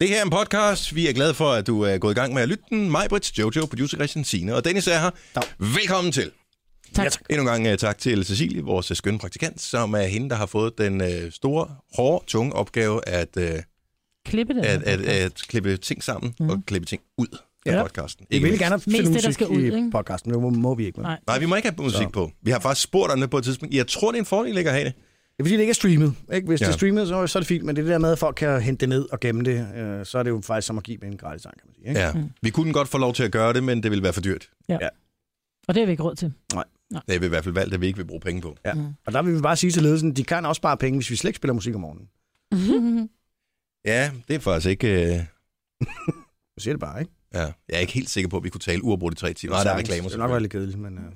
Det her er en podcast. Vi er glade for, at du er gået i gang med at lytte den. Mig, Brits, Jojo, producer Christian Sine og Dennis er her. Dag. Velkommen til. Tak. Endnu en gang uh, tak til Cecilie, vores øh, skønne praktikant, som er hende, der har fået den uh, store, hårde, tunge opgave at, uh, at, Klippe det. at, at, klippe ting sammen mm. og klippe ting ud af Mhm. Ja. podcasten. Vi vil gerne Mest finde det, musik der skal ud, i ikke? podcasten, men det må, må vi ikke. Men. Nej. Nej, vi må ikke have musik Så. på. Vi har faktisk spurgt om det på et tidspunkt. Jeg tror, det er en fordel ikke at have det. Det er fordi, det ikke er streamet. Ikke? Hvis ja. det Ja. er streamet, så, så er det fint, men det er det der med, at folk kan hente det ned og gemme det, øh, så er det jo faktisk som at give dem en gratis sang, kan man sige. Ikke? Ja. Mm. Vi kunne godt få lov til at gøre det, men det ville være for dyrt. Og det har vi ikke råd til. Det har vi i hvert fald valgt, at vi ikke vil bruge penge på. Ja. Og der vil vi bare sige til ledelsen, de kan også spare penge, hvis vi slet ikke spiller musik om morgenen. Ja, det er faktisk ikke... Øh... Jeg siger det bare, ikke? Ja. Jeg er ikke helt sikker på, at vi kunne tale uafbrudt i tre timer. Nej, der er reklamer. Det er nok været selvfølgelig. lidt kedeligt, men... Øh,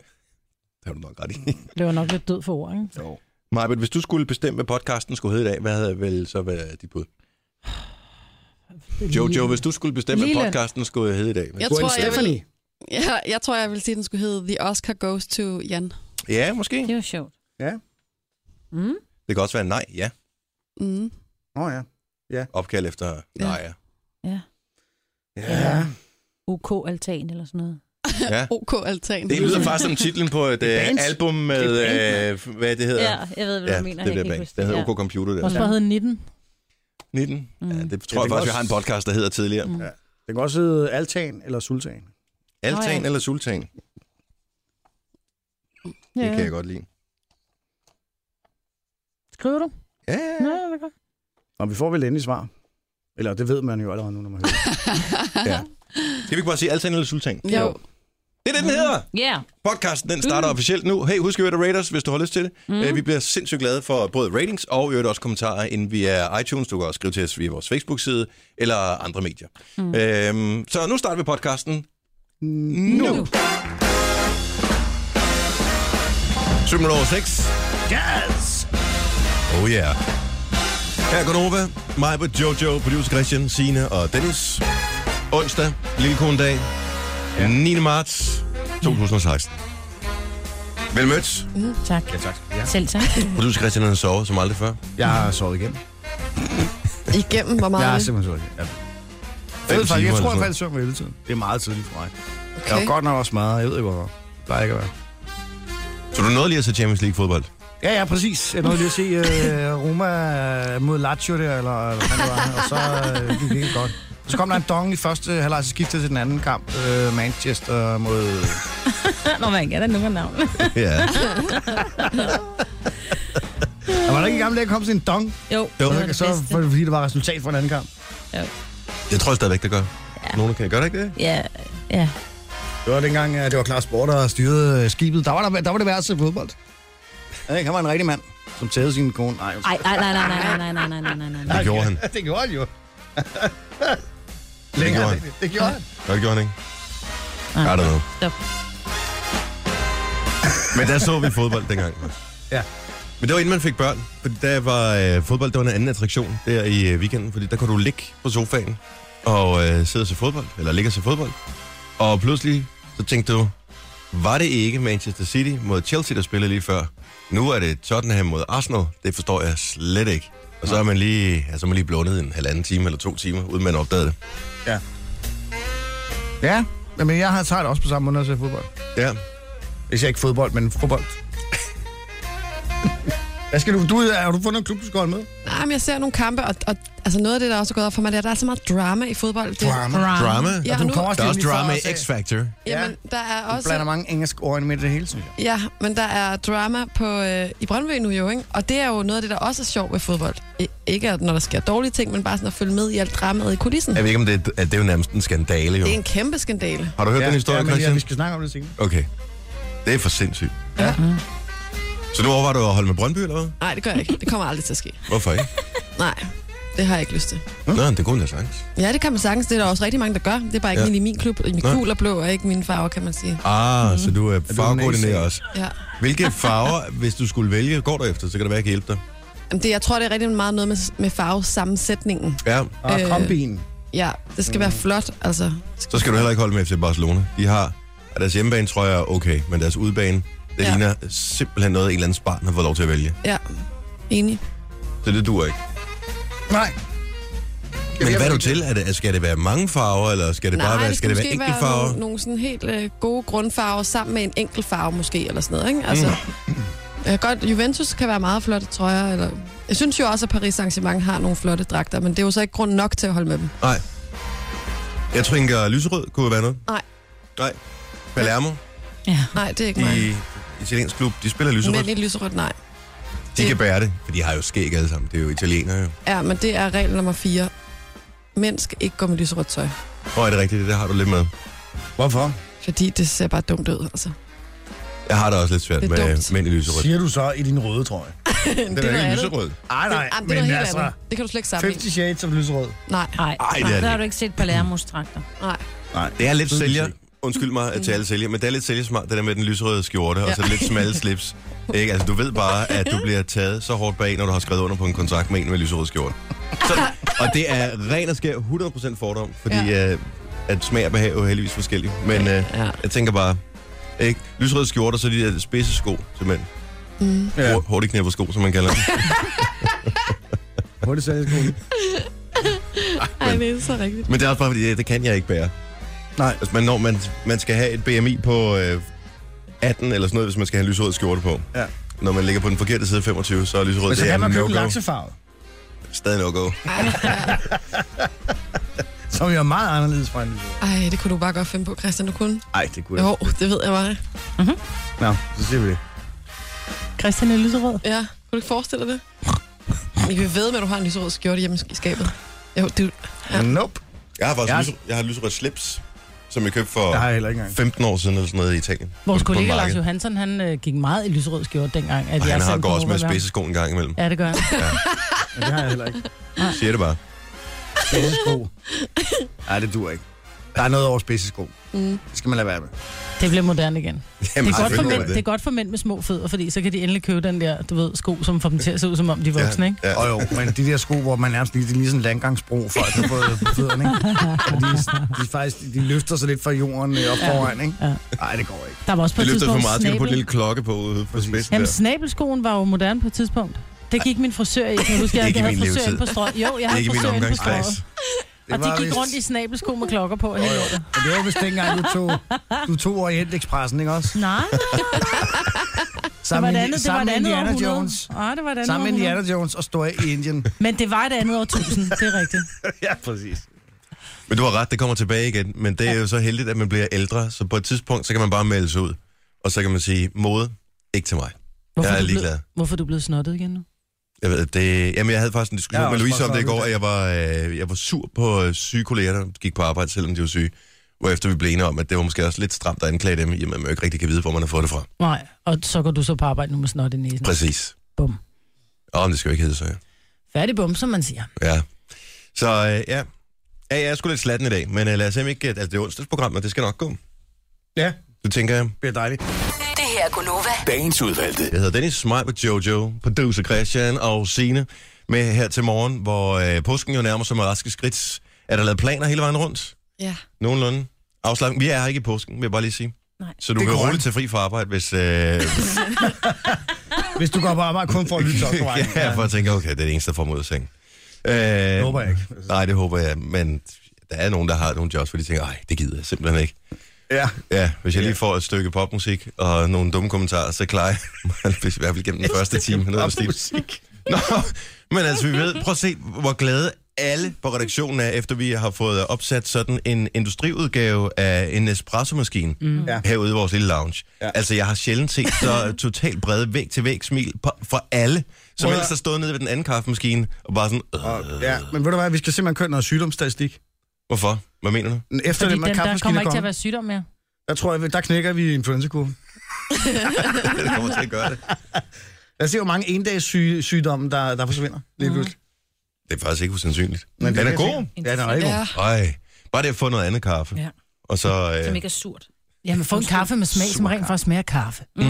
Det har du nok ret i. Det var nok lidt død for ord, ikke? jo. Majbet, hvis du skulle bestemme, hvad podcasten skulle hedde i dag, hvad havde vel så været dit bud? Jojo, hvis du skulle bestemme, hvad Lille. podcasten skulle hedde i dag. Hvad? Jeg Du er tror, en jeg vil, Stephanie. ja, jeg tror, jeg vil sige, at den skulle hedde The Oscar Goes to Jan. Ja, måske. Det var sjovt. Ja. Mm. Det kan også være nej, ja. Mm. Åh oh, ja. Opkald efter Ja. nej, ja. Ja. UK Altan eller sådan noget. ja. OK Altan. Det lyder faktisk som titlen på et Det er øh, band. album med, Det øh, hvad det hedder. jeg ved, ja det er det band. Den hedder OK Computer, Og der. så hedder 19. 19. Ja, Mm. det tror jeg kan faktisk, vi også- har en podcast, der hedder tidligere. Mm. Det kan også hedde Altan eller Sultan. Altan Nå, ja. eller Sultan? Det kan jeg godt lide. Skriver du? Ja, Ja, det er godt. Og vi får vel endelig svar. Eller det ved man jo allerede nu, når man hører. det. ja. Skal vi ikke bare sige Altan eller Sultan? Jo. Det er det, den hedder! Ja. Podcasten den starter mm. officielt nu. Hey, husk at rate Raiders, hvis du har lyst til det. Mm. Uh, vi bliver sindssygt glade for både ratings og i øvrigt også kommentarer inden vi er iTunes. Du kan også skrive til os via vores Facebook-side eller andre medier. Mm. Uh, så nu starter vi podcasten. Nu! nu. 7 over 6. Yes! Oh yeah. Her går Nova, mig på Jojo, producer Christian, Sine og Dennis. Onsdag, lille konedag, ja. 9. marts 2016. Vel mødt. Tak. Ja, tak. Ja. Selv tak. Producer Christian han sover som aldrig før. Jeg har sovet igen. Igennem, hvor Jeg meget? har simpelthen sovet igen. Ja. altså, Jeg, Fem ved faktisk, timer jeg tror, eller sådan jeg faldt i søvn ved elletiden. Det er meget tidligt for mig. Okay. Jeg Okay. var godt nok også meget. Jeg ved ikke, hvorfor. Det plejer ikke at være. Så du nåede lige at se Champions League fodbold? Ja, ja, præcis. Jeg nåede lige at se øh, Roma øh, mod Lazio der, eller hvad det var, og så øh, gik det ikke godt. Så kom der en dong i første halvleg, så skiftede til den anden kamp. Øh, Manchester mod... Nå, man kan da nu med navn. ja. Der var der ikke i gamle dage, kom til en dong, Jo, Jo. det var så, det så bedste. var det fordi, det var resultat for en anden kamp. Jeg tror stadigvæk, det gør. Ja. Nogen kan. Gør det ikke det? Ja, ja. Det var dengang, at det var Claus Sport, der styrede øh, skibet. Der var, der, der var det værste fodbold. Ja, ikke? han var en rigtig mand, som tævede sin kone. Nej, Ej, ej, nej, nej, nej, nej, nej, nej, nej, nej, nej, nej. Det gjorde han. det gjorde han jo. Det gjorde han. det, det gjorde han. Gør det gjorde han ikke? Nej. I don't know. Stop. Men der så vi fodbold dengang. Ja. Men det var inden man fik børn, fordi der var øh, fodbold, der var en anden attraktion der i øh, weekenden, fordi der kunne du ligge på sofaen og øh, sidde og se fodbold, eller ligge og se fodbold. Og pludselig så tænkte du, var det ikke Manchester City mod Chelsea, der spillede lige før? Nu er det Tottenham mod Arsenal, det forstår jeg slet ikke. Og så er man lige, altså man lige blundet en halvanden time eller to timer, uden man opdagede det. Ja, men jeg har taget også på samme måde, når jeg ser fodbold. Ja, Hvis jeg ikke fodbold, men fodbold. Hvad skal du, du, har du fundet en klub, du skal holde med? Nej, men jeg ser nogle kampe, og, og altså noget af det, der også er gået op for mig, det er, at der er så meget drama i fodbold. Det, drama. Ah, Ja, du nu, kommer også Der er også lidt lige fra drama i USA. X-Factor. jamen, der er Du blander også... mange engelske ord ind midt i det hele, synes jeg. Ja, men der er drama på, øh, i Brøndby nu jo, ikke? Og det er jo noget af det, der også er sjovt ved fodbold. I, ikke at, når der sker dårlige ting, men bare sådan at følge med i alt dramaet i kulissen. Jeg ved ikke, om det er, at det er jo nærmest en skandale, jo. Det er en kæmpe skandale. Har du hørt ja, den historie, ja, ja, men ja, Christian? vi skal snakke om det senere. Okay. Det er for sindssygt. Ja. Så nu overvejer du at holde med Brøndby, eller hvad? Nej, det gør jeg ikke. Det kommer aldrig til at ske. Hvorfor ikke? Nej, det har jeg ikke lyst til. Nå, det kunne jeg sagtens. Ja, det kan man sagtens. Det er der også rigtig mange, der gør. Det er bare ikke Ja. ja. lige min klub. Min Nej. gul og blå er ikke mine farver, kan man sige. Ah, mm. så du er farvekoordineret nation? også. Ja. Hvilke farver, hvis du skulle vælge, går du efter, så kan det være, jeg kan hjælpe dig. Jamen, det, jeg tror, det er rigtig meget noget med, med farvesammensætningen. Ja, Og Øh, kombinen. Ja, det skal være flot, altså. Mm. så skal du heller ikke holde med FC Barcelona. De har, og deres hjemmebane tror jeg er okay, men deres udebane, det ja. Ja. ligner simpelthen noget, en eller anden barn har fået lov til at vælge. Ja, enig. Så det dur ikke. Nej. Men hvad er du til? Er det, skal det være mange farver, eller skal det Nej, bare være, det skal det være måske enkelte farver? Nogle, nogle sådan helt øh, gode grundfarver sammen med en enkelt farve måske, eller sådan noget, ikke? Altså, mm. øh, godt, Juventus kan være meget flotte trøjer, eller... Jeg synes jo også, at Paris Saint-Germain har nogle flotte dragter, men det er jo så ikke grund nok til at holde med dem. Nej. Jeg tænker, lyserød kunne være noget. Nej. Nej. Palermo, Ja. Nej, det er ikke mig. de italiensk klub, de spiller lyserød. Men i lyserødt, nej. De kan bære det, for de har jo skæg alle sammen. Det er jo italienere jo. Ja, men det er regel nummer 4. Mænd skal ikke gå med lyserødt tøj, Hvor er det rigtigt? Det har du lidt med. Hvorfor? fordi det ser bare dumt ud, altså. Jeg har det også lidt svært Det er med dumt. mænd i lyserød. Siger du så i din røde trøje? Den det er noget andet. lyserød. Ej, nej, Jamen, Ah, det er men noget helt altså... andet. Det kan du slet ikke sammenligne. 50 Shades of lyserød. Nej, Nej, Ej, det er nej, det der har du ikke set Palermos trakter. nej. Nej, Det er lidt Sådan sælger. set. Undskyld mig til alle sælger, men det er lidt sælgersmart, det der med den lyserøde skjorte, og Ja. så lidt smalle slips. Ikke? Altså, du ved bare, at du bliver taget så hårdt bag, når du har skrevet under på en kontrakt med en med lyserød skjorte. Så, og det er ren og skær 100% fordom, fordi ja. øh, at smag og behag er jo heldigvis forskellige. Men øh, Ja. jeg tænker bare, ikke? lyserøde skjorter, så de der spidse sko til mænd. Mm. Ja. Ja. Hurtigt knæpper sko, som man kalder dem. Hvor er det sælgerskole? Ej, det er så rigtigt. Men det er også bare, fordi det, det kan jeg ikke bære. Nej. Altså, man, når man, man skal have et BMI på øh, 18 eller sådan noget, hvis man skal have en lyserød skjorte på. Ja. Når man ligger på den forkerte side af 25, så er lyserød Men så det er kan man købe en no-go. laksefarve, Stadig no-go. som jo er meget anderledes fra en lyserød. Ej, det kunne du bare godt finde på, Christian, du kunne. Ej, det kunne Jo, det ved jeg bare. Nå, så siger vi det. Christian er lyserød. Ja, kunne du ikke forestille dig det? Jeg kan ved med, at du har en lyserød skjorte hjemme i skabet. Jo, det, Ja. Nope. Jeg har faktisk Ja. ja. lyser, jeg har lyserød slips, som jeg købte for Det har jeg heller ikke engang. 15 år siden eller sådan noget i Italien. Vores På- på kollega Lars markedet. Johansson, han øh, gik meget i lyserød skjort dengang. At Og jeg han har selv går kunne også med overvære. spidsesko en gang imellem. Ja, det gør han. Men det har jeg heller ikke. Siger det bare. Spidsesko. Nej, det dur ikke. Der er noget over spidsesko. Mm. Det skal man lade være med. Det bliver moderne igen. Jamen, Det er, godt for selvfølgelig mænd, det er godt for mænd med små fødder, fordi så kan de endelig købe den der, du ved, sko, som får dem til at se ud, som om de er voksne, ikke? Ja. Og jo, men de der sko, hvor man nærmest lige, det er lige sådan en landgangsbro for at på på fødderne, ikke? Og de, de, faktisk, de løfter sig lidt fra jorden øh, op foran, ikke? Ja. Nej, det går ikke. Der var også på Det et løfter for tidspunkt meget, så kan du putte en snabel... lille klokke på ude på spidsen Jamen, der. snabelskoen var jo moderne på et tidspunkt. Det gik min frisør i. Kan du huske, jeg Ikke i havde min frisør levetid. inde på strøget? Jo, jeg havde Ikke i min frisør inde på omgangskreds. strøget. Det Og de var gik vist- rundt i snabelsko med klokker på. hele lortet. Men det var vist dengang, du tog, du tog Orientekspressen, ikke også? Nej, det var Sammen et med- andet, det var sammen et med Indiana andet århundrede. Jones. Nej, det var et andet Sammen med århundrede. Indiana Jones og står i Indien. Men det var et andet årtusind, det er rigtigt. ja, præcis. Men du har ret, det kommer tilbage igen. Men det er jo så heldigt, at man bliver ældre, så på et tidspunkt, så kan man bare melde sig ud. Og så kan man sige, mode, ikke til mig. Hvorfor Jeg er er du ligeglad. Blevet, hvorfor er du blevet snottet igen nu? Jeg ved, det, jamen, jeg havde faktisk en diskussion Jeg er med også Louise om det i meget går, klar. at jeg var, øh, jeg var sur på øh, syge kolleger, der gik på arbejde, selvom de var syge. Hvorefter vi blev enige om, at det var måske også lidt stramt at anklage dem, i og med, at man jo ikke rigtig kan vide, hvor man har fået det fra. Nej, og så går du så på arbejde nu med snot i næsen. Præcis. Bum. Åh, men det skal jo ikke hedde så, ja. Færdig bum, som man siger. ja. Så øh, ja. ja, jeg er sgu lidt slatten i dag, men øh, lad os simpelthen ikke... Altså, det er onsdagsprogram, og det skal nok gå. Ja, Det tænker jeg. det er dejligt. Det her er Gunova. Dagens udvalgte. Jeg hedder Dennis, mig med Jojo, producer Christian og Sine med her til morgen, hvor øh, påsken jo nærmer sig med raske skridt. Er der lavet planer hele vejen rundt? ja. Nogenlunde. Afslappet. Vi er her ikke i påsken, vil jeg bare lige sige. Nej. Så du Det er kan korrekt. roligt tage fri fra arbejde, hvis... Øh, ja, Hvis du går på arbejde kun for at lytte til os på vejen. for at tænke, okay, det er det eneste, der får mig ud af sengen. Øh, det Det håber jeg ikke. Nej, det håber jeg, men der er nogen, der har nogle jobs, hvor de tænker, nej, det gider jeg simpelthen ikke. Ja. Ja, hvis jeg lige får et stykke popmusik og nogle dumme kommentarer, så klarer jeg mig i hvert fald gennem den første time. Noget af stil. Musik. Nå, men altså, vi ved, prøv at se, hvor glade alle på redaktionen er, efter vi har fået opsat sådan en industriudgave af en Nespresso-maskine mm. Ja. herude i vores lille lounge. Ja. Ja. Altså, jeg har sjældent set så totalt brede væg-til-væg smil på, for alle, som Prøv at- ellers har stået nede ved den anden kaffemaskine og bare sådan, øh, Og, ja, men ved du hvad, vi skal simpelthen køre noget sygdomsstatistik. hvorfor? Hvad mener du? Efter Fordi det, man den, der kaffemaskinen kommer ikke til kommer, at være sygdom mere. der tror jeg, der knækker vi influenzakurven. Det kommer til at gøre det. Lad os se, hvor mange endags syge, sygdomme, der, der forsvinder lige pludselig. Det er faktisk ikke usandsynligt. Men Men Mm. den er kan jeg god. se. Ja, den er rigtig god. Ja. Ej, bare det at få noget andet kaffe. Ja. Og så... Som Øh, ikke er surt. Jamen, få en kaffe med smag, som rent faktisk smager af kaffe. mm.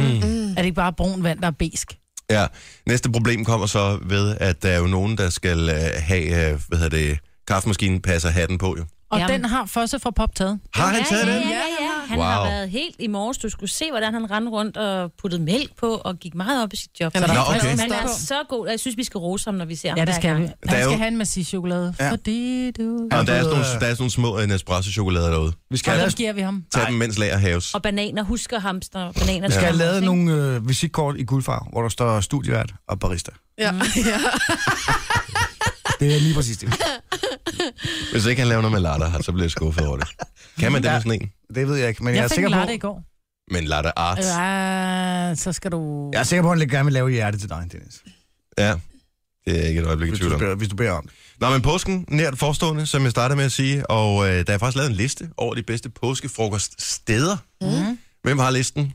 Er det ikke bare brun vand, der er besk? Ja, næste problem kommer så ved, at der er jo nogen, der skal øh, have, øh, hvad hedder det, kaffemaskinen passer hatten på jo. Og Jamen. den har Fosse fra Poptaget. Har han taget ja, den? Ja, ja, ja. Han Wow. wow. har været helt i morges. Du skulle se, hvordan han rendte rundt og puttede mælk på og gik meget op i sit job. Han er Så Nå, han- okay. Han er så god, og jeg synes, vi skal rose ham, når vi ser ham. Ja, hver det skal gang. vi. Der er Han jo- skal have en massiv chokolade, Ja. fordi du... Og der er, sådan fået, nogle, øh, der er sådan nogle små øh, Nespresso-chokolader derude. Vi Og skal, hvad have, giver vi ham? Tag dem, mens lager haves. Og bananer, husker hamster. og Bananer, vi skal have hamster, lavet ikke? nogle øh, visitkort i guldfarve, hvor der står studievært og barista. Ja, ja. Det er lige præcis det. Hvis ikke han laver noget med latte art, så bliver jeg skuffet over det. Kan man det med sådan en? Det ved jeg ikke, men jeg, Jeg, er fik en sikker latte på, i går. Men latte art. Ja, så skal du... jeg er sikker på, at han lidt gerne vil lave hjerte til dig, Dennis. Ja. Det er ikke et øjeblik i Hvis tvivl du, om. beder, hvis du beder om det. Nå, men påsken nært forestående, som jeg startede med at sige, og øh, der er faktisk lavet en liste over de bedste påskefrokoststeder. Mm. Hvem har listen?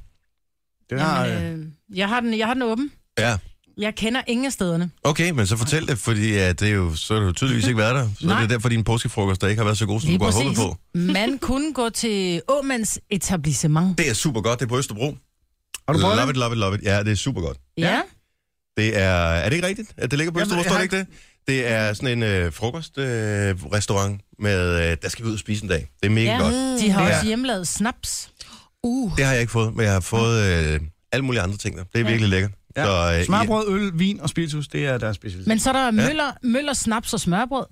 Det har, øh, Jamen, øh, jeg, har den, jeg har den åben. Ja, Jeg kender ingen af stederne. okay, men så fortæl det, fordi ja, det er jo, så har du tydeligvis ikke været der. Så Nej. Nej. det er derfor, din påskefrokost der ikke har været så god, som du kunne have håbet på. Man kunne gå til Åmands etablissement. Det er super godt, det er på Østerbro. har du prøvet Love it, det? love it, love it. Ja, det er super godt. Ja. Det er, er det ikke rigtigt, at det ligger på Jamen, Østerbro? jeg Står har det ikke det? Det er sådan en øh, frokostrestaurant øh, restaurant med, øh, der skal vi ud og spise en dag. Det er mega Ja. godt. De har Ja. også hjemmelavet snaps. Uh, Det har jeg ikke fået, men jeg har fået øh, alle mulige andre ting der. Det er virkelig lækkert. Ja. Så, øh, Smørbrød, øl, vin og spiritus, det er deres specialitet. Men så er der Møller, Møller snaps og smørbrød.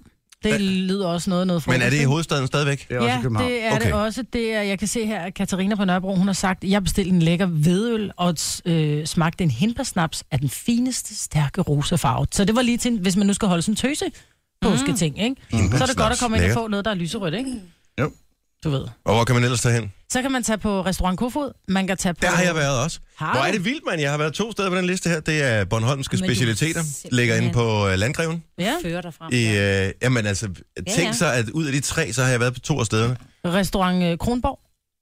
Det Ja. lyder også noget, noget Men er det i frokost, hovedstaden stadigvæk? det er også i Ja, København. det er okay. Okay. det også. Det er, jeg kan se her, at Katarina på Nørrebro, hun har sagt, jeg bestilte en lækker hvedøl og øh, smagte en hindbærsnaps af den fineste, stærke rosefarve. Så det var lige til, en- hvis man nu skal holde sådan en tøse påsketing, ikke? Så er det godt at komme ind og få noget, der er lyserødt, ikke? Jo. Du ved. Og hvor kan man ellers tage hen? Så kan man tage på restaurant Kofod, man kan tage på... Der har jeg været også. Har Hvor du? er det vildt, mand. Jeg har været to steder på den liste her. Det er Bornholmske Men du er specialiteter. simpelthen- Ligger inde på øh, Landgreven. Ja. Fører dig frem. I, øh, jamen altså, ja. tænk så, at ud af de tre, så har jeg været på to af stederne. Restaurant øh, Kronborg.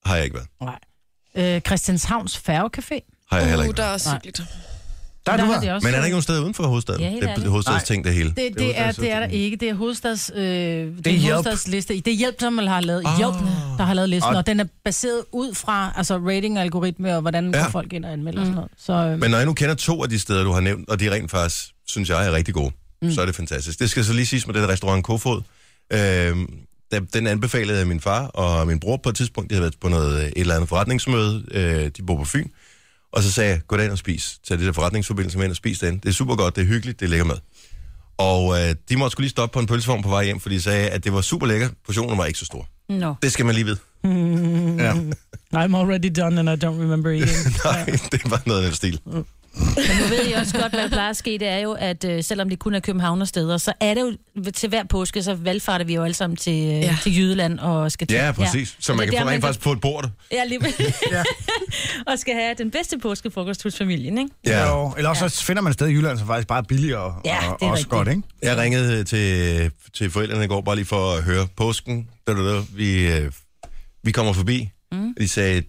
Har jeg ikke været. Nej. Øh, Christianshavns Færgecafé. Har jeg heller uh ikke der været. er også cykligt. Der er du har her. de også- Men er der ikke nogen steder uden for hovedstaden? Ja, helt det er ærligt. hovedstadsting, det hele. Det, det, er, det er der ikke. Det er hovedstads, øh, det er hjælp. hovedstadsliste. Det er hjælp, som man har lavet. Ah. Oh. Hjælp, der har lavet listen. Og- Og den er baseret ud fra altså rating og algoritme, og hvordan Ja. ja. folk ind og anmelder mm. sådan noget. Så, øh, Men når jeg nu kender to af de steder, du har nævnt, og de er rent faktisk, synes jeg, er rigtig gode, mm. så er det fantastisk. Det skal så lige siges med den restaurant Kofod. Øhm, der- den anbefalede af min far og min bror på et tidspunkt. De havde været på noget, øh, et eller andet forretningsmøde. Øh, de bor på Fyn. Og så sagde jeg, gå derind og spis. Tag det der forretningsforbindelse med ind og spis den. Det er super godt, det er hyggeligt, det er lækker mad. Og øh, de måtte skulle lige stoppe på en pølsevogn på vej hjem, fordi de sagde, at det var super lækker. Portionen var ikke så stor. øh. Nå. Det skal man lige vide. Ja. I'm already done, and I don't remember again. Nej, det var noget af den stil. Men nu ved I også godt, hvad der plejer at ske. Det er jo, at øh, selvom det kun er københavnersteder, så er det jo til hver påske, så valgfarter vi jo alle sammen til, øh, Ja. ja. til Jylland og skal til. Ja, præcis. Så man Det er kan der, få rent man faktisk på et bord. Ja, lige ja. Og skal have den bedste påskefrokost hos familien, ikke? Ja. Jo, eller også så finder man et sted i Jylland, som faktisk bare er billigere og, Ja, det er og også rigtigt. godt, ikke? Jeg ringede øh, til, til forældrene i går, bare lige for at høre påsken. Da, da, da, vi, øh, vi kommer forbi. Mm. De sagde,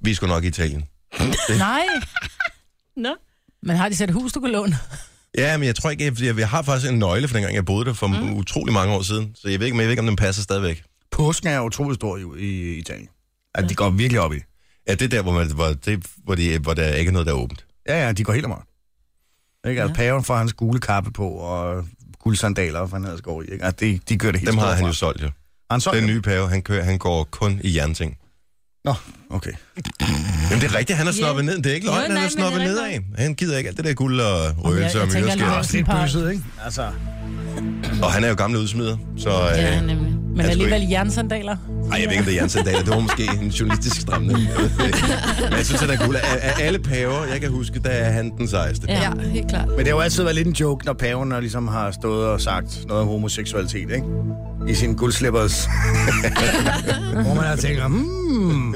vi skulle nok i Italien. Nej, Nå. men har de sat et hus, du kan låne? Ja, men jeg tror ikke, jeg, fordi jeg har faktisk en nøgle for dengang, jeg boede der for mm. utrolig mange år siden. Så jeg ved ikke, men jeg ved ikke om den passer stadigvæk. Påsken er utrolig stor i, i Italien. At de går virkelig op i. det. Ja, det er der, hvor, man, hvor, det, hvor, de, hvor der ikke er noget, der er åbent. Ja, ja, de går helt amok. Ikke? Altså, paven får hans gule kappe på, og guldsandaler, og hvad han ellers går i. Ikke? Altså, de, de gør det helt Dem har stort han fra. jo solgt, jo. Han så, Den nye pave, han, kører, han går kun i jernting. Nå, okay. Jamen, det er rigtigt, han er Ja. snoppet ned. Det er ikke løgn, Jo, han nej, er men snoppet det er ned af. Han gider ikke alt det der guld og røgelse jeg og myreskab. tænker, han er Og det er bøset, ikke? Altså, Og han er jo gammel udsmider, så... Øh, ja, nemlig. Men Altså, sgu alligevel jernsandaler. Ej, jeg ved ikke, om det er Jan Sandaler. Det var måske en journalistisk stramning. Jeg ved det ikke. Men jeg synes, han er cool. Af, af alle paver, jeg kan huske, der er han den sejeste. Ja, helt klart. men det har jo altid været lidt en joke, når paven er ligesom har stået og sagt noget om homoseksualitet, ikke? I sin guldslippers. Hvor man har tænkt, hmm,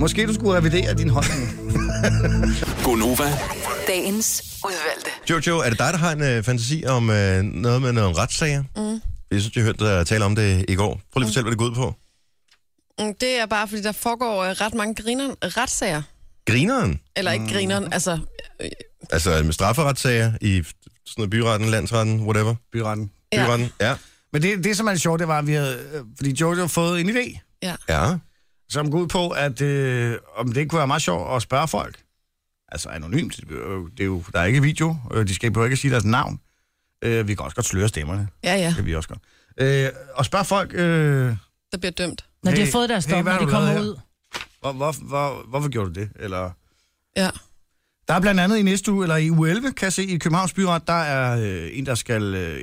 måske du skulle revidere din holdning. Gonova, Dagens udvalgte. Jojo, er det dig, der har en øh, fantasi om øh, noget med nogle retssager? Mm. Jeg synes, jeg hørte dig tale om det i går. Prøv lige at fortælle, hvad det går ud på. Mm, Det er bare, fordi der foregår øh, ret mange griner, retssager. Grineren, Eller Mm. ikke grineren, altså... øh, altså med strafferetssager i f- sådan noget byretten, landsretten, whatever. Byretten. Ja. Byretten, ja. Men det, det som er lidt sjovt, det var, at vi havde, øh, fordi Jojo har fået en idé, Ja, som går ud på, at øh, om det ikke kunne være meget sjovt at spørge folk. Altså anonymt, det er jo- det er jo, der er ikke video, øh, de skal behøver ikke at sige deres navn. Øh, vi kan også godt sløre stemmerne, Ja, ja, det kan vi også godt. Øh, og spørge folk, øh, der bliver dømt. Når de Hey, har fået deres hey, dom, hvad når har de du lavet kommer her? ud. Hvor, hvor, hvor, hvorfor gjorde du det? Eller... Ja. Der er blandt andet i næste uge, eller i uge 11, kan jeg se, i Københavns Byret, der er øh, en, der skal øh,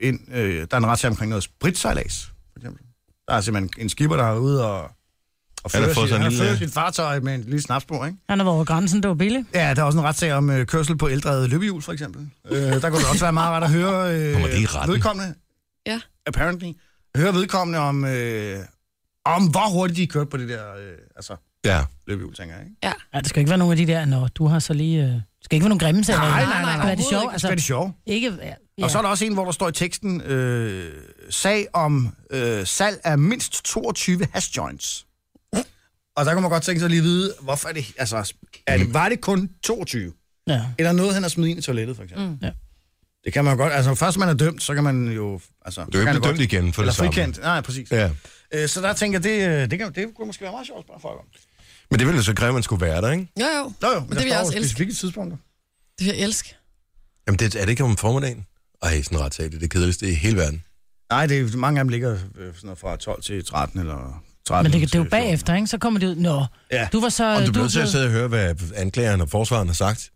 ind. Øh, der er en retssag omkring noget spritsejlads, for eksempel. Der er simpelthen en skipper, der er ude og, og Han har fører fået sig sit, en han lille- fører sit fartøj med en lille snapsbord, ikke? Han har været over grænsen, det var billigt. Ja, der er også en retssag om øh, kørsel på ældre løbehjul, for eksempel. Øh, der kunne det også være meget rart at høre øh, Kommer det i retten? vedkommende. Ja. Apparently. Høre vedkommende om, øh, om hvor hurtigt de kørte på det der øh, altså, Ja. løbehjul, tænker jeg. Ikke? Ja, det skal ikke være nogen af de der, når du har så lige... Øh... Det skal ikke være nogen grimme sager. Nej, nej, nej, Skal være det Altså, sjovt? Altså, det er det sjovt. ikke... Ja. Og så er der også en, hvor der står i teksten, øh, sag om øh, salg af mindst 22 hash joints. Og der kan man godt tænke sig lige at vide, hvorfor er det, altså, er det, var det kun 22? Ja. Eller noget, han har smidt ind i toilettet, for eksempel? Mm. Ja. Det kan man jo godt, altså først man er dømt, så kan man jo, altså... Du er jo ikke blevet dømt igen for Eller det samme. frikendt, nej, præcis. Ja. Øh, så der tænker jeg, det, øh, det, kan, det kunne måske være meget sjovt at spørge folk om. Men det ville jo så kræve, at man skulle være der, ikke? Jo, jo. Nå jo, men, det der vil jeg står også jo elske. specifikke tidspunkter. Det vil jeg elske. Jamen, det, er det ikke om formiddagen? Ej, sådan en retssag, det er det kedeligste i hele verden. Nej, det er, mange af dem ligger øh, sådan noget fra 12 til 13, eller 13 Men det, kan- det er jo til 14. bagefter, ikke? Så kommer det ud. Nå, Ja. du var så... Og du er bliver nødt til at blevet- sidde og høre, hvad anklageren og forsvaren har sagt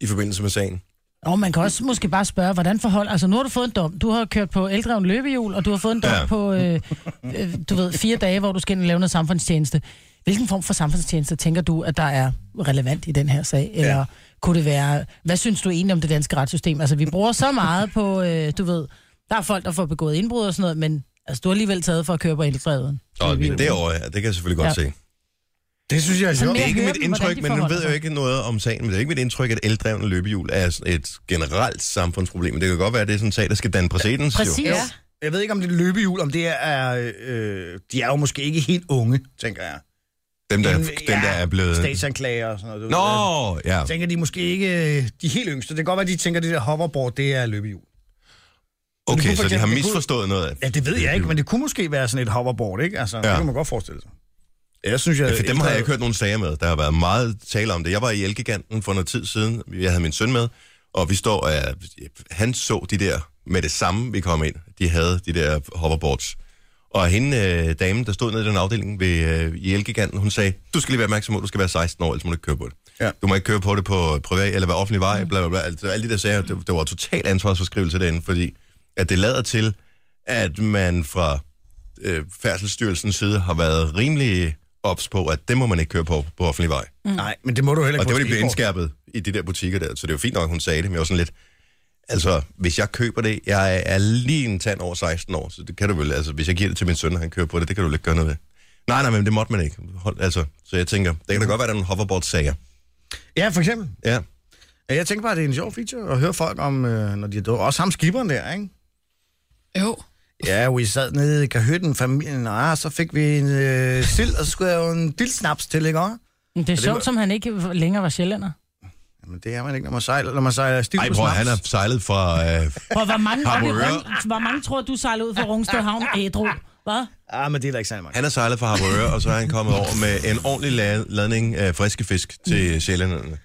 i forbindelse med sagen. Og man kan også måske bare spørge, hvordan forhold... Altså, nu har du fået en dom. Du har kørt på ældreven løbehjul, og du har fået en dom Ja. ja. på, øh, øh, du ved, fire dage, hvor du skal ind og lave noget samfundstjeneste. Hvilken form for samfundstjeneste tænker du, at der er relevant i den her sag? Eller ja. kunne det være... Hvad synes du egentlig om det danske retssystem? Altså, vi bruger så meget på, øh, du ved... Der er folk, der får begået indbrud og sådan noget, men altså, du har alligevel taget for at køre på ældreven. Og det derovre, ja, det kan jeg selvfølgelig godt Ja. se. Det synes jeg er Så sjovt. Det er Jeg ikke hører mit dem, indtryk, hvordan de men nu forholder ved jeg jo sig. ikke noget om sagen, men det er ikke mit indtryk, at eldrevne løbehjul er sådan et generelt samfundsproblem. Men Det kan godt være, at det er sådan en sag, der skal danne præcedens. jo. Præcis. Ja. Jeg ved ikke, om det er løbehjul, om det er... Øh, de er jo måske ikke helt unge, tænker jeg. Dem, der, En- dem, der er blevet... Statsanklager og sådan noget. du Øh. ved. Nå, ja. Jeg tænker, de er måske ikke øh, de helt yngste. Det kan godt være, de tænker, det der hoverboard, det er løbehjul. Okay, kunne for så de har eksempel- misforstået noget af Ja, det ved jeg ikke, men det kunne måske være sådan et hoverboard, ikke? Altså, ja. det kan man godt forestille sig. Jeg synes, jeg... Ja, for dem har jeg ikke hørt nogen sager med. Der har været meget tale om det. Jeg var i Elgiganten for noget tid siden. Jeg havde min søn med, og vi står... Uh, han så de der med det samme, vi kom ind. De havde de der hoverboards. Og hende, øh, damen, der stod nede i den afdeling ved, øh, i Elgiganten, hun sagde, du skal lige være opmærksom på, at du skal være 16 år, ellers må du ikke køre på det. Ja. Du må ikke køre på det på privat eller være offentlig vej, bla bla bla. Altså, alle de der sager, det, det var total ansvarsforskrivelse derinde, fordi at det lader til, at man fra øh, Færdselsstyrelsens side har været rimelig ops på, at det må man ikke køre på på offentlig vej. Mm. Nej, men det må du heller ikke Og det var på de blevet skateboard. indskærpet i de der butikker der, så det var fint nok, hun sagde det, men jeg var sådan lidt, altså, hvis jeg køber det, jeg er lige en tand over 16 år, så det kan du vel, altså, hvis jeg giver det til min søn, og han kører på det, det kan du vel ikke gøre noget ved. Nej, nej, men det måtte man ikke. Hold, altså, så jeg tænker, det kan da godt være, der er nogle hoverboard-sager. Ja, for eksempel. Ja. Ja, Jeg tænker bare, at det er en sjov feature at høre folk om, øh, når de er døde. Også ham skiberen der, ikke? Jo. Ja, vi sad nede i kahytten, familien, og så fik vi en øh, sild, og så skulle jeg jo en dilsnaps til, ikke også? Men det er sjovt, må- som han ikke længere var sjællander. Jamen, det er man ikke, når man sejler, når man sejler stiv Ej, på bror, snaps. han har sejlet fra... Øh, Prøv, hvor mange, Har oppe i du øre? Rung- Altså, hvor mange tror du sejler ud fra Rungsted Havn ædru? Hvad? Ah, men det er da ikke særlig meget. han har sejlet fra Harboøre, og så er han kommet over med en ordentlig la- ladning af friske fisk Mm. til sjællænderne.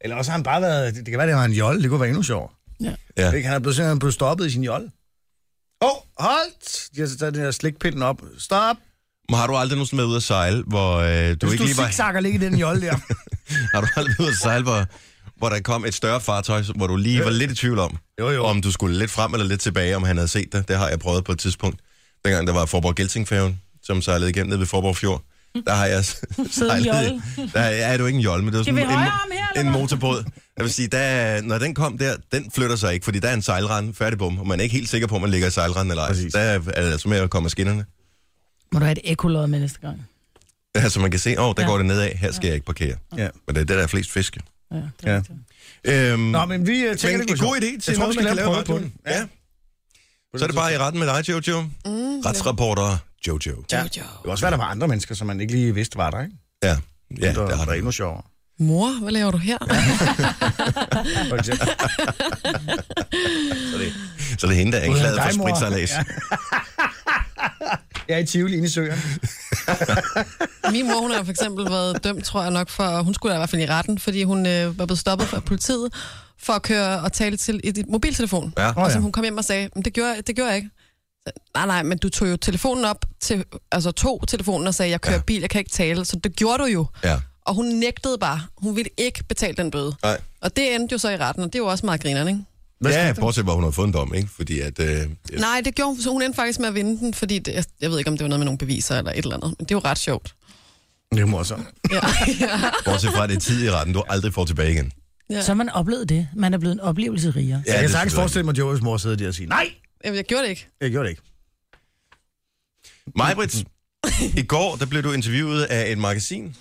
Eller også har han bare været... Det, det kan være, det var en jolle. Det kunne være endnu sjovere. Ja. Ja. Ikke? Han er blevet, simpelthen blevet stoppet i sin jolle. Åh, oh, holdt! De har så taget den her slikpinden op. Stop! Men har du aldrig nogensinde været ude at sejle, hvor øh, du Hvis ikke du lige var... zigzagger lige i den jolle der. Har du aldrig været ude at sejle, hvor, hvor der kom et større fartøj, hvor du Øh. lige var lidt i tvivl om, Jo, jo. om du skulle lidt frem eller lidt tilbage, om han havde set dig? Det har jeg prøvet på et tidspunkt. Dengang der var Forborg Geltingfærgen, som sejlede igennem ned ved Forborg Fjord. Der har jeg s- sejlet... jolle. Der er du ikke en jolle, men det var Skal vi sådan en, højre om her, eller en hvad? motorbåd. Jeg vil sige, der, når den kom der, den flytter sig ikke, fordi der er en sejlrende, færdig bum, og man er ikke helt sikker på, om man ligger i sejlrenden eller ej. Præcis. Der er det altså med at komme af skinnerne. Må du have et ekolod med næste gang? Ja, så man kan se, åh, oh, der ja. går det nedad, her skal jeg ikke parkere. Ja. Men det er der, der er flest fisk. Ja, det Ja. er rigtigt. Øhm, Nå, men vi uh, tænker, Men det en god idé til tror, noget, vi man kan lave skal lave en på prøve den. på Ja. Så er det bare i retten med dig, Jojo. Mm, Retsreporter Jojo. Ja. Det er også svært, at der var andre mennesker, som man ikke lige vidste var der, ikke? Ja, ja der, det har der der er endnu ikke. sjovere. Mor, hvad laver du her? For eksempel. Så det er hende, der er anklaget Uden for dig, mor. spritsejlads. Ja. Jeg er i Tivoli inde i søerne. Min mor, hun har for eksempel været dømt, tror jeg nok, for... Hun skulle da i hvert fald i retten, fordi hun øh, var blevet stoppet fra politiet for at køre og tale til et mobiltelefon. Ja. Og som hun kom hjem og sagde, "Men det gjorde, det gjorde jeg ikke. Nej, nej, men du tog jo telefonen op, til, altså tog telefonen og sagde, jeg kører ja. bil, jeg kan ikke tale. Så det gjorde du jo. Ja. Og hun nægtede bare. Hun ville ikke betale den bøde. Nej. Og det endte jo så i retten, og det var også meget grineren, ikke? Ja, bortset fra, at hun har fået en dom, ikke? Fordi at... Øh, Nej, det gjorde hun, så hun endte faktisk med at vinde den, fordi det, jeg, jeg ved ikke, om det var noget med nogle beviser eller et eller andet, men det er jo ret sjovt. Det er morsomt. Ja. bortset fra, at det er tid i retten, du aldrig får tilbage igen. Så har man oplevet det. Man er blevet en oplevelse rigere. Ja, jeg det kan er sagtens selvfølgelig forestille mig, at Joey's mor sidder der og siger, nej, Jamen, jeg gjorde det ikke. jeg gjorde det ikke. rigtigt. Majbrits, i går, der blev du interviewet af et magasin.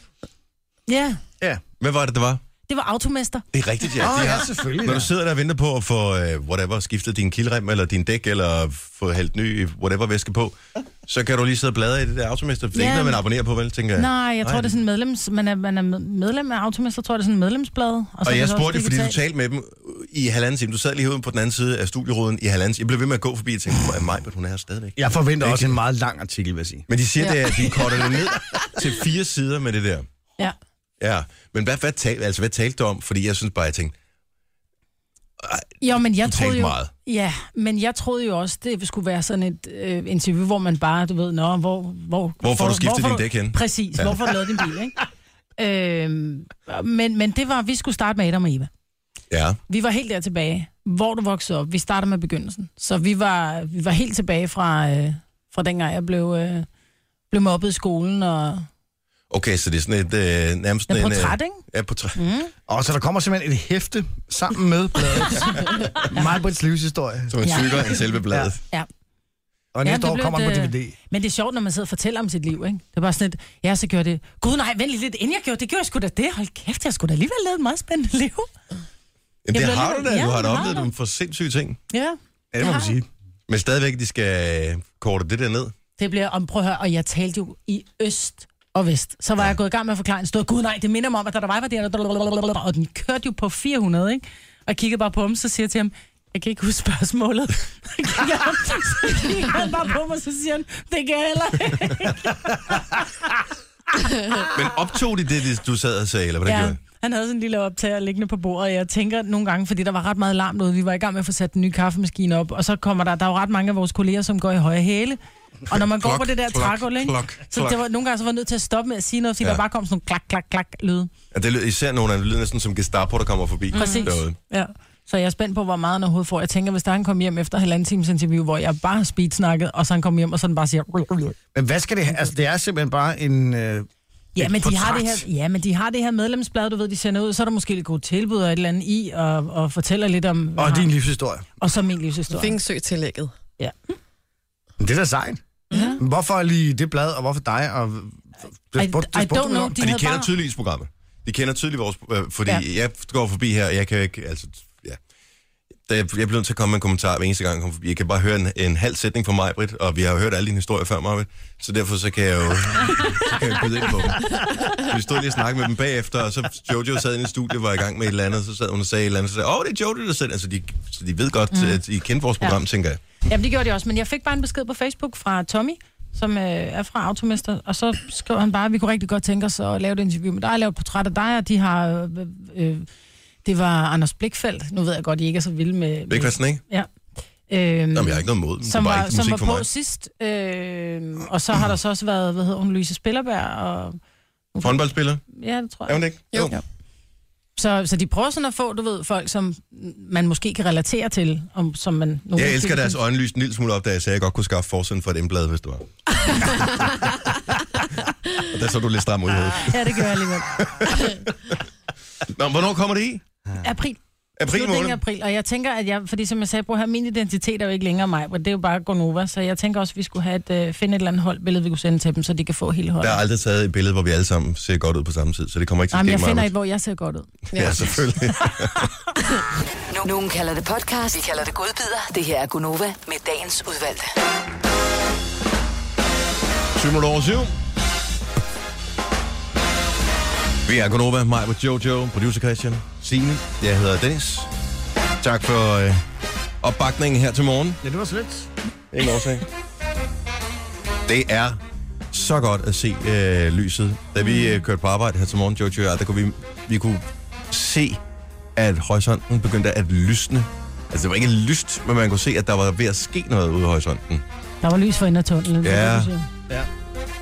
Ja, Ja. Hvad var det, det var? Ah, det var automester. Det er rigtigt, ja. Åh, det ja, er- selvfølgelig. Når da. du sidder der og venter på at få øh, whatever, skiftet din kildrem eller din dæk, eller få hældt ny whatever væske på, så kan du lige sidde og bladre i det der automester. Det er Ja. ikke noget, man abonnerer på, vel, tænker jeg. Nej, jeg tror, Nej. det er sådan en medlems... Man er, man er med- medlem af automester, tror jeg, det er sådan en medlemsblad. så er Og det jeg også spurgte, jo, fordi du digitalt. talte med dem i halvanden time. Du sad lige herude på den anden side af studieruden i halvanden time. Jeg blev ved med at gå forbi og tænkte, hvor er mig, men hun er her stadigvæk. Jeg forventer også en meget lang artikel, vil jeg sige. Men de siger, ja. det er, at de korter det ned til fire sider med det der. Ja. Ja, men hvad, hvad, tal, altså, hvad talte du om? Fordi jeg synes bare, jeg tænkte, Jo, men jeg Du troede talte jo, meget. Ja, men jeg troede jo også, det skulle være sådan et øh, interview, hvor man bare, du ved, nå, hvor, hvor, hvor får du skiftet din dæk hen? Præcis, Ja. ja. hvorfor har du lavet din bil, ikke? øhm, men, men det var, vi skulle starte med Adam og Eva. Ja, Vi var helt der tilbage, hvor du voksede op. Vi starter med begyndelsen. Så vi var, vi var helt tilbage fra, øh, fra dengang, jeg blev, øh, blev mobbet i skolen. Og, okay, så det er sådan et øh, nærmest... ja, en, øh, portræt, ikke? Ja, portræt. Og så der kommer simpelthen et hæfte sammen med bladet. Meget på et livshistorie. Som en Ja. tykker end selve bladet. Ja. Og Ja, næste det år blev kommer han på et, øh, DVD. Men det er sjovt, når man sidder og fortæller om sit liv, ikke? Det er bare sådan et, ja, så gjorde det. Gud nej, vent lige lidt, inden jeg gjorde det, gjorde jeg sgu da det. Hold kæft, jeg skulle da alligevel lavet et meget spændende liv. Jamen, Jeg det blev har du alligevel- da. Ja, Du har da det har oplevet jeg. nogle for sindssyge ting. Ja. Ja, det må man sige. Men stadigvæk, de skal øh, korte det der ned. Det bliver om, prøv at høre, og jeg talte jo i øst og vest. Så var jeg gået i gang med at forklare en stor, gud nej, det minder mig om, at da der var, var der, og den kørte jo på 400, ikke? Og jeg kiggede bare på ham, så siger jeg til ham, jeg kan ikke huske spørgsmålet. Så kigger han, så kigger han bare på mig, så siger han, det kan jeg heller ikke. Men optog de det, det, du sad og sagde, eller hvordan ja. Ja, gjorde I? han havde sådan en lille optager liggende på bordet, og jeg tænker nogle gange, fordi der var ret meget larm derude, vi var i gang med at få sat den nye kaffemaskine op, og så kommer der, der er jo ret mange af vores kolleger, som går i høje hæle, og når man går Klok, på det der klok, trægulv, ikke? klok, så klok. det var, nogle gange så var jeg nødt til at stoppe med at sige noget, fordi Ja. der bare kom sådan nogle klak, klak, klak lyde. Ja, det lyder, især nogle af dem lyder næsten som Gestapo, der kommer forbi. Præcis. Derude. Ja. Så jeg er spændt på, hvor meget han overhovedet får. Jeg tænker, hvis der han kom hjem efter halvanden times interview, hvor jeg bare har speedsnakket, og så han kom hjem, og sådan bare siger... Men hvad skal det have? Altså, det er simpelthen bare en... Øh, Ja, Et men de, har det portræt. her, ja, men de har det her medlemsblad, du ved, de sender ud, så er der måske lidt gode tilbud og et eller andet i, og, og fortæller lidt om... hvad og har- din livshistorie. Og så min livshistorie. Vingsø tillægget. Men det er da sejt. Ja. Hvorfor lige det blad, og hvorfor dig? Og, det, I, spurgte- det I spurgte don't du know. om. Og de havde kender bare- tydeligvis programmet. De kender tydeligt vores... Øh, fordi ja. Ja. jeg går forbi her, og jeg kan jo ikke... Altså, ja. Da jeg, jeg bliver nødt til at komme med en kommentar hver eneste gang, jeg kommer forbi. Jeg kan bare høre en, en halv sætning fra mig, Britt, og vi har jo hørt alle dine historier før, Marvind. Så derfor så kan jeg jo så kan jeg byde ind på dem. Vi stod lige og snakkede med dem bagefter, og så Jojo sad inde i studiet, var i gang med et eller andet, så sad hun og sagde et eller andet, så sagde, åh, det er Jojo, der selv. Altså, de, så de ved godt, mm. at I kendte vores program, ja. tænker jeg. Jamen, det gjorde de også, men jeg fik bare en besked på Facebook fra Tommy, som øh, er fra Automester, og så skrev han bare, at vi kunne rigtig godt tænke os at lave et interview med dig, lave et portræt af dig, og de har... Øh, øh, det var Anders Blikfeldt. Nu ved jeg godt, at I ikke er så vilde med... Vil ikke være sådan, ikke? Ja. Øhm, Nå, men jeg har ikke noget mod dem. som det var, var, ikke som musik var for på mig. sidst. Øh, og så har der så også været, hvad hedder hun, Louise Spillerberg, og Håndboldspiller, ja, det tror er jeg. hun det ikke? Jo. Så, så de prøver sådan at få, du ved, folk, som man måske kan relatere til, om, som man... nogle Jeg måske elsker kan- deres øjenlys en lille smule op, da jeg sagde, at jeg godt kunne skaffe forsiden for et emblad, hvis det var. Og der så du lidt stram ud i hovedet. Ja, det gør jeg alligevel. Nå, hvornår kommer det i? April. April Slutningen af måned? april, og jeg tænker, at jeg, fordi som jeg sagde, bror her, min identitet er jo ikke længere mig, og det er jo bare Gonova, så jeg tænker også, at vi skulle have et, øh, finde et eller andet holdbillede, vi kunne sende til dem, så de kan få hele Der holdet. er aldrig taget et billede, hvor vi alle sammen ser godt ud på samme tid, så det kommer ikke til at Jamen, ske jeg finder et, meget. hvor jeg ser godt ud. Ja, selvfølgelig. Nu- Nogen kalder det podcast, vi kalder det godbider. Det her er Gunova med dagens udvalgte. 20 minutter over syv. Vi er Gunova, mig med Jojo, producer Christian, Signe, jeg hedder Dennis. Tak for øh, opbakningen her til morgen. Ja, det var så lidt. Ingen årsag. Det er så godt at se øh, lyset. Da vi øh, kørte på arbejde her til morgen, Jojo og jeg, der kunne vi, vi kunne se, at horisonten begyndte at lysne. Altså, det var ikke lyst, men man kunne se, at der var ved at ske noget ude i horisonten. Der var lys for enden af tunnelen. Ja. det er det, du siger.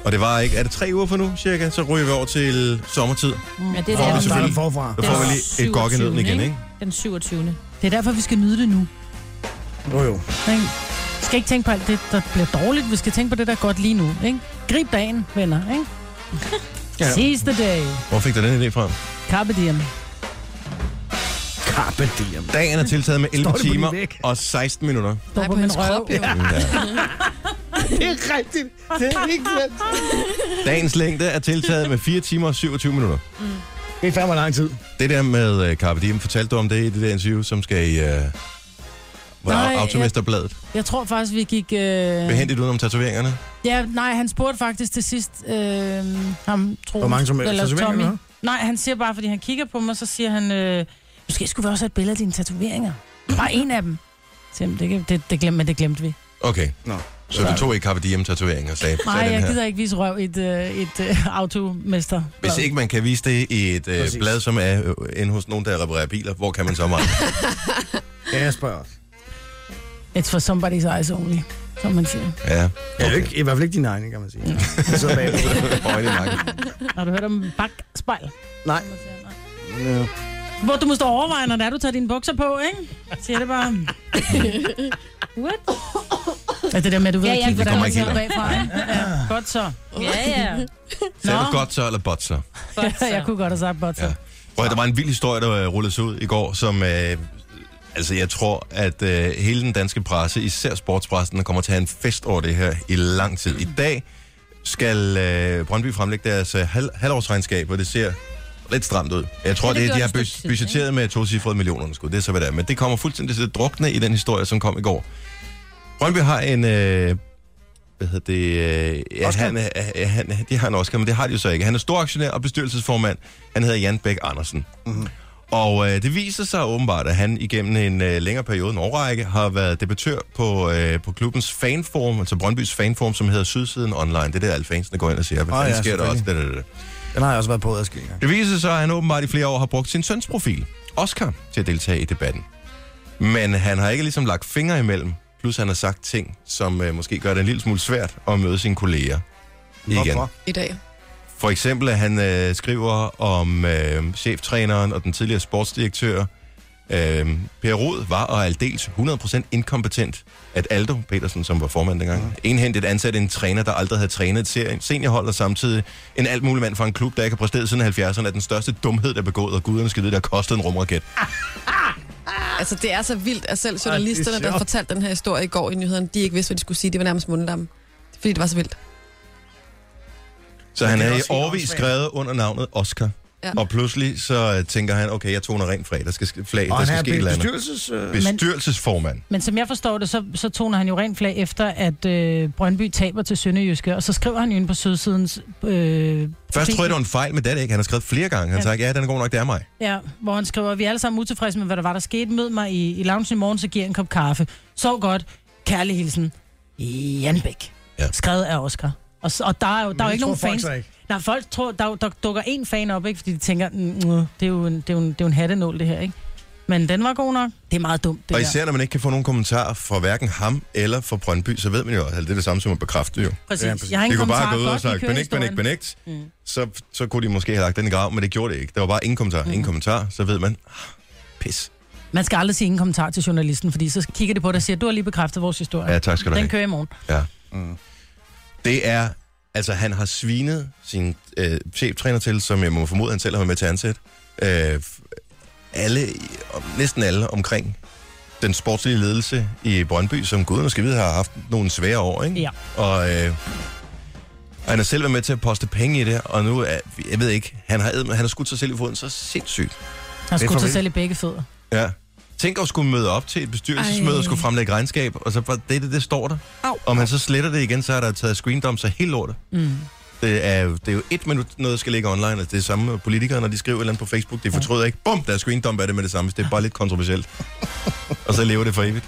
Og det var ikke, er det tre uger for nu cirka, så ryger vi over til sommertid. Ja, det er Nå, Og men vi der. selvfølgelig. starter forfra. Der får vi lige et gok i nøden 27., igen, ikke? Den 27. Det er derfor, vi skal nyde det nu. Jo, jo. Ikke? Vi skal ikke tænke på alt det, der bliver dårligt. Vi skal tænke på det, der er godt lige nu. Ikke? Grib dagen, venner. Ikke? Ja. ja. Seize the day. Hvor fik du den idé fra? Carpe diem. Carpe diem. Dagen er tiltaget med 11 Står det på din timer væg? og 16 minutter. Står på min røv. jo. Ja. Ja. Det er rigtigt. Det er ikke sandt. Dagens længde er tiltaget med 4 timer og 27 minutter. Det er fandme lang tid. Det der med uh, Carpe Diem, fortalte du om det i det der interview, som skal i... Uh, Nej, Nej, jeg- Automesterbladet. Jeg tror faktisk, vi gik... Øh... Behendigt udenom tatoveringerne. Ja, nej, han spurgte faktisk til sidst øh, ham, Troels, Hvor mange som helst eller tatoveringer, Tommy. eller Nej, han siger bare, fordi han kigger på mig, så siger han, øh, måske skulle vi også have et billede af dine tatoveringer. Bare en af dem. Så, jamen, det, kan- det, det, glemte, men det glemte vi. Okay, Nå. så du tog ikke Carpe Diem tatoveringer, sagde, Nej, sagde den jeg her. gider ikke vise røv i et, øh, et øh, automester. Hvis ikke man kan vise det i et øh, Præcis. blad, som er øh, inde hos nogen, der reparerer biler, hvor kan man så meget? Ja, jeg spørger også. It's for somebody's eyes only, som man siger. Ja, Okay. okay. Ikke, I hvert fald ikke din egen, kan man sige. Så bagved. Øjne i nakken. Har du hørt om bakspejl? Nej. Ja. Hvor du måske overveje, når det er, du tager dine bukser på, ikke? Siger det bare. What? Ja, det der med, at du ved Ja, at kigge, ja, det hvordan kommer man ikke ser helt bagfra. ikke? Ja, ja. Godt så. Ja, ja. Sagde du Nå. godt så, eller bot så? Godt så. Jeg kunne godt have sagt godt så. Ja. Prøv, at, der var en vild historie, der øh, rullede sig ud i går, som... Øh, altså, jeg tror, at øh, hele den danske presse, især sportspressen, kommer til at have en fest over det her i lang tid. I dag skal øh, Brøndby fremlægge deres øh, hal- halvårsregnskab, og det ser lidt stramt ud. Jeg tror, Ja, det det, det, gjorde de har det et stykke bud- tid, budgetteret med tocifrede millionerunderskud. Det er så, hvad det er. Men det kommer fuldstændig til at drukne i den historie, som kom i går. Brøndby har en... Øh, hvad hedder det? Øh, ja, han, er- ja, han, er- de har en Oscar, men det har de jo så ikke. Han er storaktionær og bestyrelsesformand. Han hedder Jan Bæk Andersen. Mm-hmm. Mhm. Og øh, det viser sig åbenbart, at han igennem en øh, længere periode, en årrække, har været debattør på, øh, på klubbens fanforum, altså Brøndbys fanforum, som hedder Sydsiden Online. Det er der, alle fansene går ind og siger, hvad Åh, fanden Ah, ja, sker der også? selvfølgelig. Da, da, da. Den har jeg også været på adskillige gange. Det viser sig, at han åbenbart i flere år har brugt sin søns profil, Oscar, til at deltage i debatten. Men han har ikke ligesom lagt fingre imellem, plus han har sagt ting, som øh, måske gør det en lille smule svært at møde sine kolleger. Igen. Hvorfor? I dag. For eksempel, at han øh, skriver om øh, cheftræneren og den tidligere sportsdirektør. Øh, per Rod var og er aldeles 100% inkompetent, at Aldo Petersen, som var formand dengang, mm. enhentet ansat en træner, der aldrig havde trænet til en seniorhold, og samtidig en alt mulig mand fra en klub, der ikke har præsteret siden 70'erne, er den største dumhed, der er begået, og guderne skal vide, der kostede en rumraket. Altså, det er så vildt, at selv er journalisterne, der sjovt. fortalte den her historie i går i nyhederne, de ikke vidste, hvad de skulle sige. Det var nærmest mundlamme. Fordi det var så vildt. Så han det er er i også helt årvis åndssvagt. skrevet under navnet Oscar. Ja. Ja. Og pludselig så øh, tænker han, okay, jeg toner rent flag, der skal ske- flag, Og der han skal er ske et eller andet. bestyrelses... Øh, Bestyrelsesformand. Men som jeg forstår det, så, så toner han jo rent flag efter, at øh, Brøndby taber til Sønderjyske, og så skriver han jo inde på Sydsidens... Øh, Først troede jeg, det var en fejl, men det er det ikke. Han har skrevet flere gange. Han Ja. sagde, ja, den er god nok, det er mig. Ja, hvor han skriver, vi er alle sammen utilfredse med, hvad der var, der skete. Mød mig i, i loungen i morgen, så giver jeg en kop kaffe. Sov godt. Kærlig hilsen. Jan Bæk. Ja. Ja. Skrevet af Oscar. Og, s- og der er jo, der er jo ikke nogen fans. Ikke. Nej, folk tror, der, er jo- der dukker en fan op, ikke? fordi de tænker, "Mm, det er, jo en, det, er jo en, det er jo en hattenål, det her, ikke? Men den var god nok. Det er meget dumt, det og der. især, når man ikke kan få nogen kommentarer fra hverken ham eller fra Brøndby, så ved man jo, at det er det samme som at bekræfte jo. Præcis. Ja, præcis. Jeg har Det ingen kunne bare kommentar. gå ud og Godt, Mm. vi sagt, kører benægt, benægt, historien. benægt. Så, så kunne de måske have lagt den i grav, men det gjorde det ikke. Der var bare ingen kommentar, Mm. ingen kommentar, så ved man, ah, pis. Man skal aldrig sige ingen kommentar til journalisten, fordi så kigger det på dig og siger, du har lige bekræftet vores historie. Ja, tak skal du den have. kører i morgen. Ja. Det er, altså han har svinet sin øh, cheftræner til, som jeg må formode, han selv har været med til at ansætte. Øh, f- alle, i- om- næsten alle omkring den sportslige ledelse i Brøndby, som guderne skal vide har haft nogle svære år, ikke? Ja. Og, øh, og han har selv været med til at poste penge i det, og nu, er, jeg ved ikke, han har, eddermame- han har skudt sig selv i foden så sindssygt. Han Det er skulle for sig vildt. selv i begge fødder. Ja. Tænk at skulle møde op til et bestyrelsesmøde Ej. og skulle fremlægge regnskab, og så bare, det, er det, det står der. Au. Om han så sletter det igen, så er der taget screendom, så helt lortet. Mm. Det er, det er jo et minut, noget der skal ligge online, og det er det samme med politikere, når de skriver et eller andet på Facebook, det fortryder ikke. Bum, der er screendom af det med det samme, hvis det er bare lidt kontroversielt. og så lever det for evigt.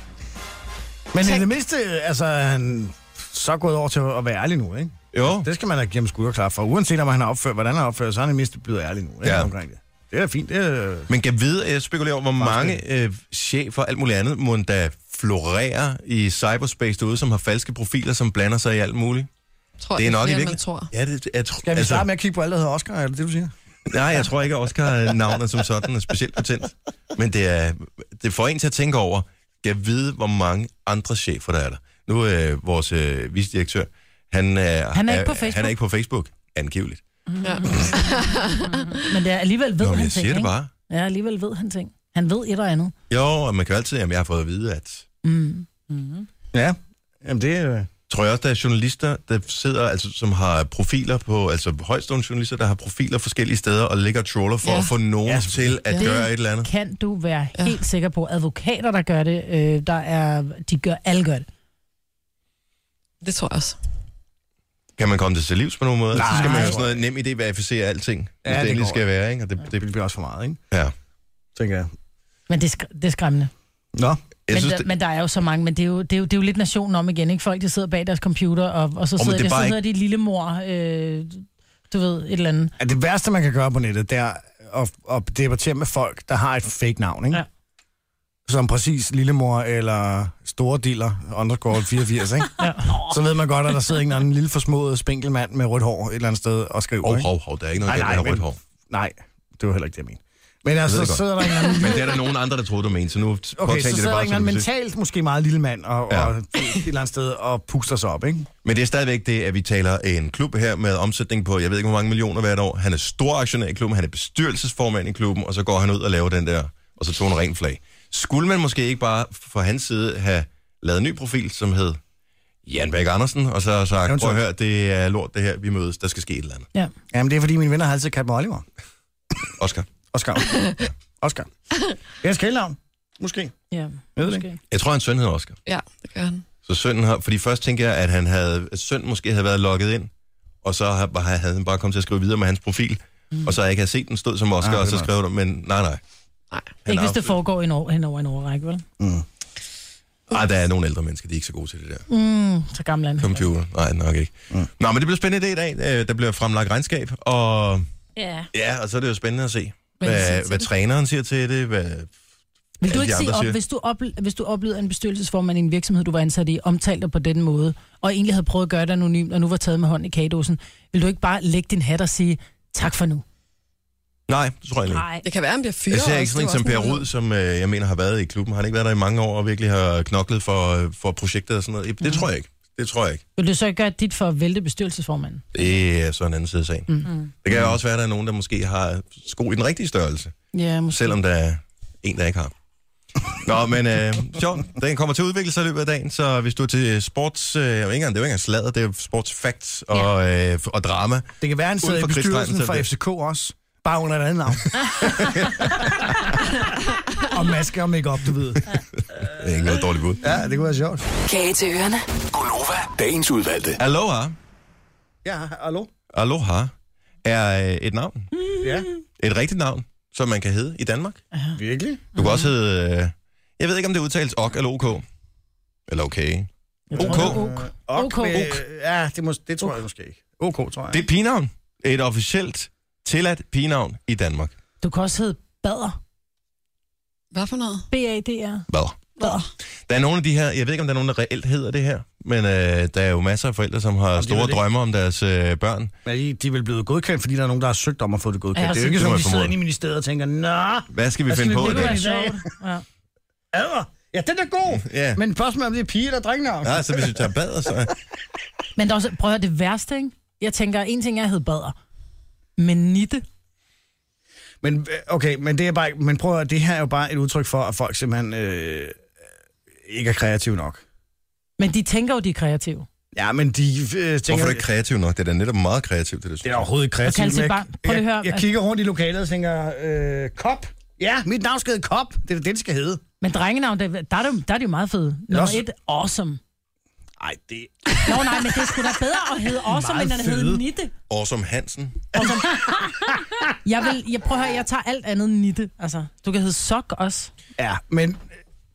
Men i Tænk- det mindste, altså, er han så gået over til at være ærlig nu, ikke? Jo, Det skal man da give ham skulderklap for. Uanset om han har opført, hvordan han har opført, så er han i det mindste blevet ærlig nu, ikke? Ja. Omkring det. Det er fint. Det er... Man kan vide, at jeg spekulerer over, hvor mange øh, chefer og alt muligt andet, må der florerer i cyberspace derude, som har falske profiler, som blander sig i alt muligt. Tror Det er jeg, nok flere, i end man tror. virkeligheden. Ja, det, jeg, tr- altså- Skal vi starte med at kigge på alle, der hedder Oscar? Er det det, du siger? Nej, jeg tror ikke, at Oscar-navnet som sådan er specielt patent. Men det, er, det får en til at tænke over, jeg ved, hvor mange andre chefer der er der. Nu er øh, vores øh, vicedirektør, han, øh, han, ikke på Facebook. han er ikke på Facebook, angiveligt. Ja. Men det er, alligevel Nå, ved men han jeg ting, siger det ikke? bare. Ja, alligevel ved han ting. Han ved et og andet. Jo, og man kan jo altid, jamen, jeg har fået at vide, at... Ja. Jamen, det øh, er... Tror jeg også, der er journalister, der sidder, altså, som har profiler på... Altså højstående journalister, der har profiler forskellige steder og ligger og troller for ja. Ja. at få nogen ja. Ja. til at Ja. ja. gøre et eller andet. Kan du være ja. helt sikker på, advokater, der gør det, øh, der er, de gør, alle gør det. Det tror jeg også. Kan man komme det til livs på nogen måde? Nej, så skal man Nej. jo sådan noget nem idé verificere alting, ja, det hvis det endelig går skal ikke. være, ikke? Og det, Det det, bliver også for meget, ikke? ja. Tænker jeg. Men det, er sk- det er skræmmende. Nå. Jeg men, synes, der, det, men der er jo så mange, men det er jo, det er jo, det er jo lidt nationen om igen, ikke? Folk, der sidder bag deres computer, og, og så men sidder, det er det bare så hedder de lillemor, øh, du ved, et eller andet. At det værste, man kan gøre på nettet, det er at, at debattere med folk, der har et fake navn, ikke? Ja. Ja. Som præcis Lillemor eller Store Diller, underscore 84, ikke? Ja. Så ved man godt, at der sidder en eller anden lille forsmået spinkelmand med rødt hår et eller andet sted og skriver, Hov, ikke? hov, hov, der er ikke noget Nej, galt med at have nej, rødt men- hår. Nej, det var heller ikke det, jeg mente. Men altså, det så godt. sidder der en eller anden... Men det er der nogen andre, der troede, du mente, så nu okay, Okay, så påtalte jeg det sidder der bare en som eller anden en mental... mentalt måske meget lille mand og, Ja. ja. og et eller andet sted og puster sig op, ikke? Men det er stadigvæk det, at vi taler en klub her med omsætning på, jeg ved ikke, hvor mange millioner hvert år. Han er stor aktionær i klubben, han er bestyrelsesformand i klubben, og så går han ud og laver den der, og så tog en ren flag. Skulle man måske ikke bare fra hans side have lavet en ny profil, som hed Jan Bæk Andersen, og så sagt, prøv at høre, det er lort det her, vi mødes, der skal ske et eller andet. Ja. Jamen, det er fordi, mine venner har altid kaldt mig Oliver. Oscar. Oscar. Oscar. Det er skældnavn. Måske. ja. Jeg ved det måske. ikke. Jeg tror, hans søn hedder Oscar. Ja, det gør han. Så sønnen har, fordi først tænkte jeg, at han havde, at søn måske havde været logget ind, og så har- har- havde han bare kommet til at skrive videre med hans profil, mm. og så har jeg ikke havde set den stod som Oscar, Ah, ah, og det så var- skrev du, men nej, nej. Nej. Han Ikke er hvis det absolut- foregår en år, hen over en årrække, vel? Mm. Ej, der er nogle ældre mennesker, de er ikke så gode til det der. Mm, så gammel er han. Computer, nej, nok ikke. Mm. Nå, men det bliver spændende i dag. Øh, Der bliver fremlagt regnskab, og Ja. ja, og så er det jo spændende at se, Hvad de siger hvad, til hvad det. træneren siger til det, hvad Vil du alle ikke de sige andre op, siger. hvis du, op, hvis du oplevede en bestyrelsesformand i en virksomhed, du var ansat i, omtalte dig på den måde, og egentlig havde prøvet at gøre det anonymt, og nu var taget med hånden i kagedåsen, vil du ikke bare lægge din hat og sige, tak for nu? Nej, det tror jeg ikke. Nej. Det kan være, han bliver fyret. Jeg ser ikke også. sådan en Det er som Per jo også Rud, som øh, jeg mener har været i klubben. Han har ikke været der i mange år og virkelig har knoklet for, øh, for projektet og sådan noget. Mhm. Det tror jeg ikke. Det tror jeg ikke. Vil du så ikke gøre dit for at vælte bestyrelsesformanden? Det er så en anden side af sagen. Mm. Mhm. Mm. Det kan jo også være, at der er nogen, der måske har sko i den rigtige størrelse, Ja, måske. selvom der er en, der ikke har. Nå, men øh, sjovt. Den kommer til at udvikle sig i løbet af dagen, så hvis du er til sports... Øh, jeg ved ikke engang, det er jo ikke engang sladder, det er jo sportsfacts og, øh, og drama. Det kan være, han sidder Uden i for Chris bestyrelsen Stein, for så er det- FCK også. Bare under et andet navn. og maske og make-up, du ved. Det er ikke noget dårligt bud. Ja, det kunne være sjovt. Kage til ørerne. Gunova, dagens udvalgte. Aloha, Ja, hallo? aloha er øh, et navn. Ja, Et rigtigt navn, som man kan hedde i Danmark. virkelig? Du kan også hedde... Øh, jeg ved ikke, om det udtales ok eller ok. Eller okay. OK. OK. Og Ok. Med, ja, det, må, det tror jeg måske ikke. OK, tror jeg. Det er et pigenavn. Et officielt tilladt pigenavn i Danmark. Du kan også hedde Bader. noget. Hvad for noget? B-A-D-R. Hvad? Bader. Der er nogle af de her, jeg ved ikke, om der er nogen, der reelt hedder det her, men øh, der er jo masser af forældre, som har Jamen, ved store det. drømme om deres øh, børn. Men de, de er vel blevet godkendt, fordi der er nogen, der har søgt om at få det godkendt. Ja, det er så jo ikke det sådan, må jeg at de sidder formode. inde i ministeriet og tænker, Nå, Hvad skal vi Hvad finde skal på vi i finde dag? på sjovt. Ja. adder. Ja, den er god. Ja. Men spørgsmålet er, om det er pige eller drengnavn. Ja, så hvis vi tager bad, så... Men der er også, prøv at høre, det værste, ikke? Jeg tænker, en ting er at hedde Bader. Men Nitte. Men øh, okay, men det er bare, men prøv at, høre, det her er jo bare et udtryk for, at folk simpelthen øh, ikke er kreative nok. Men de tænker jo, de er kreative. Ja, men de øh, Hvorfor tænker... er det ikke kreativt nok? Det er da netop meget kreativt, det der. synes det er jeg. overhovedet ikke kreativt. Og kalde sit men barn- prøv lige at jeg, høre, jeg, jeg at- kigger rundt i lokalet og tænker, øh, kop. Ja, mit navn skal hedde Kop. Det er det, det skal hedde. Men drengenavn, der, der, er, det jo- der er de jo meget fede. Nummer også- et, awesome. Nej, det... Nå nej, men det skulle da bedre at hedde awesome, Meget end at fede. hedde Nitte. Awesome Hansen. Jeg vil, jeg prøver at høre, jeg tager alt andet end Nitte. Altså, du kan hedde Sok også. Ja, men øh,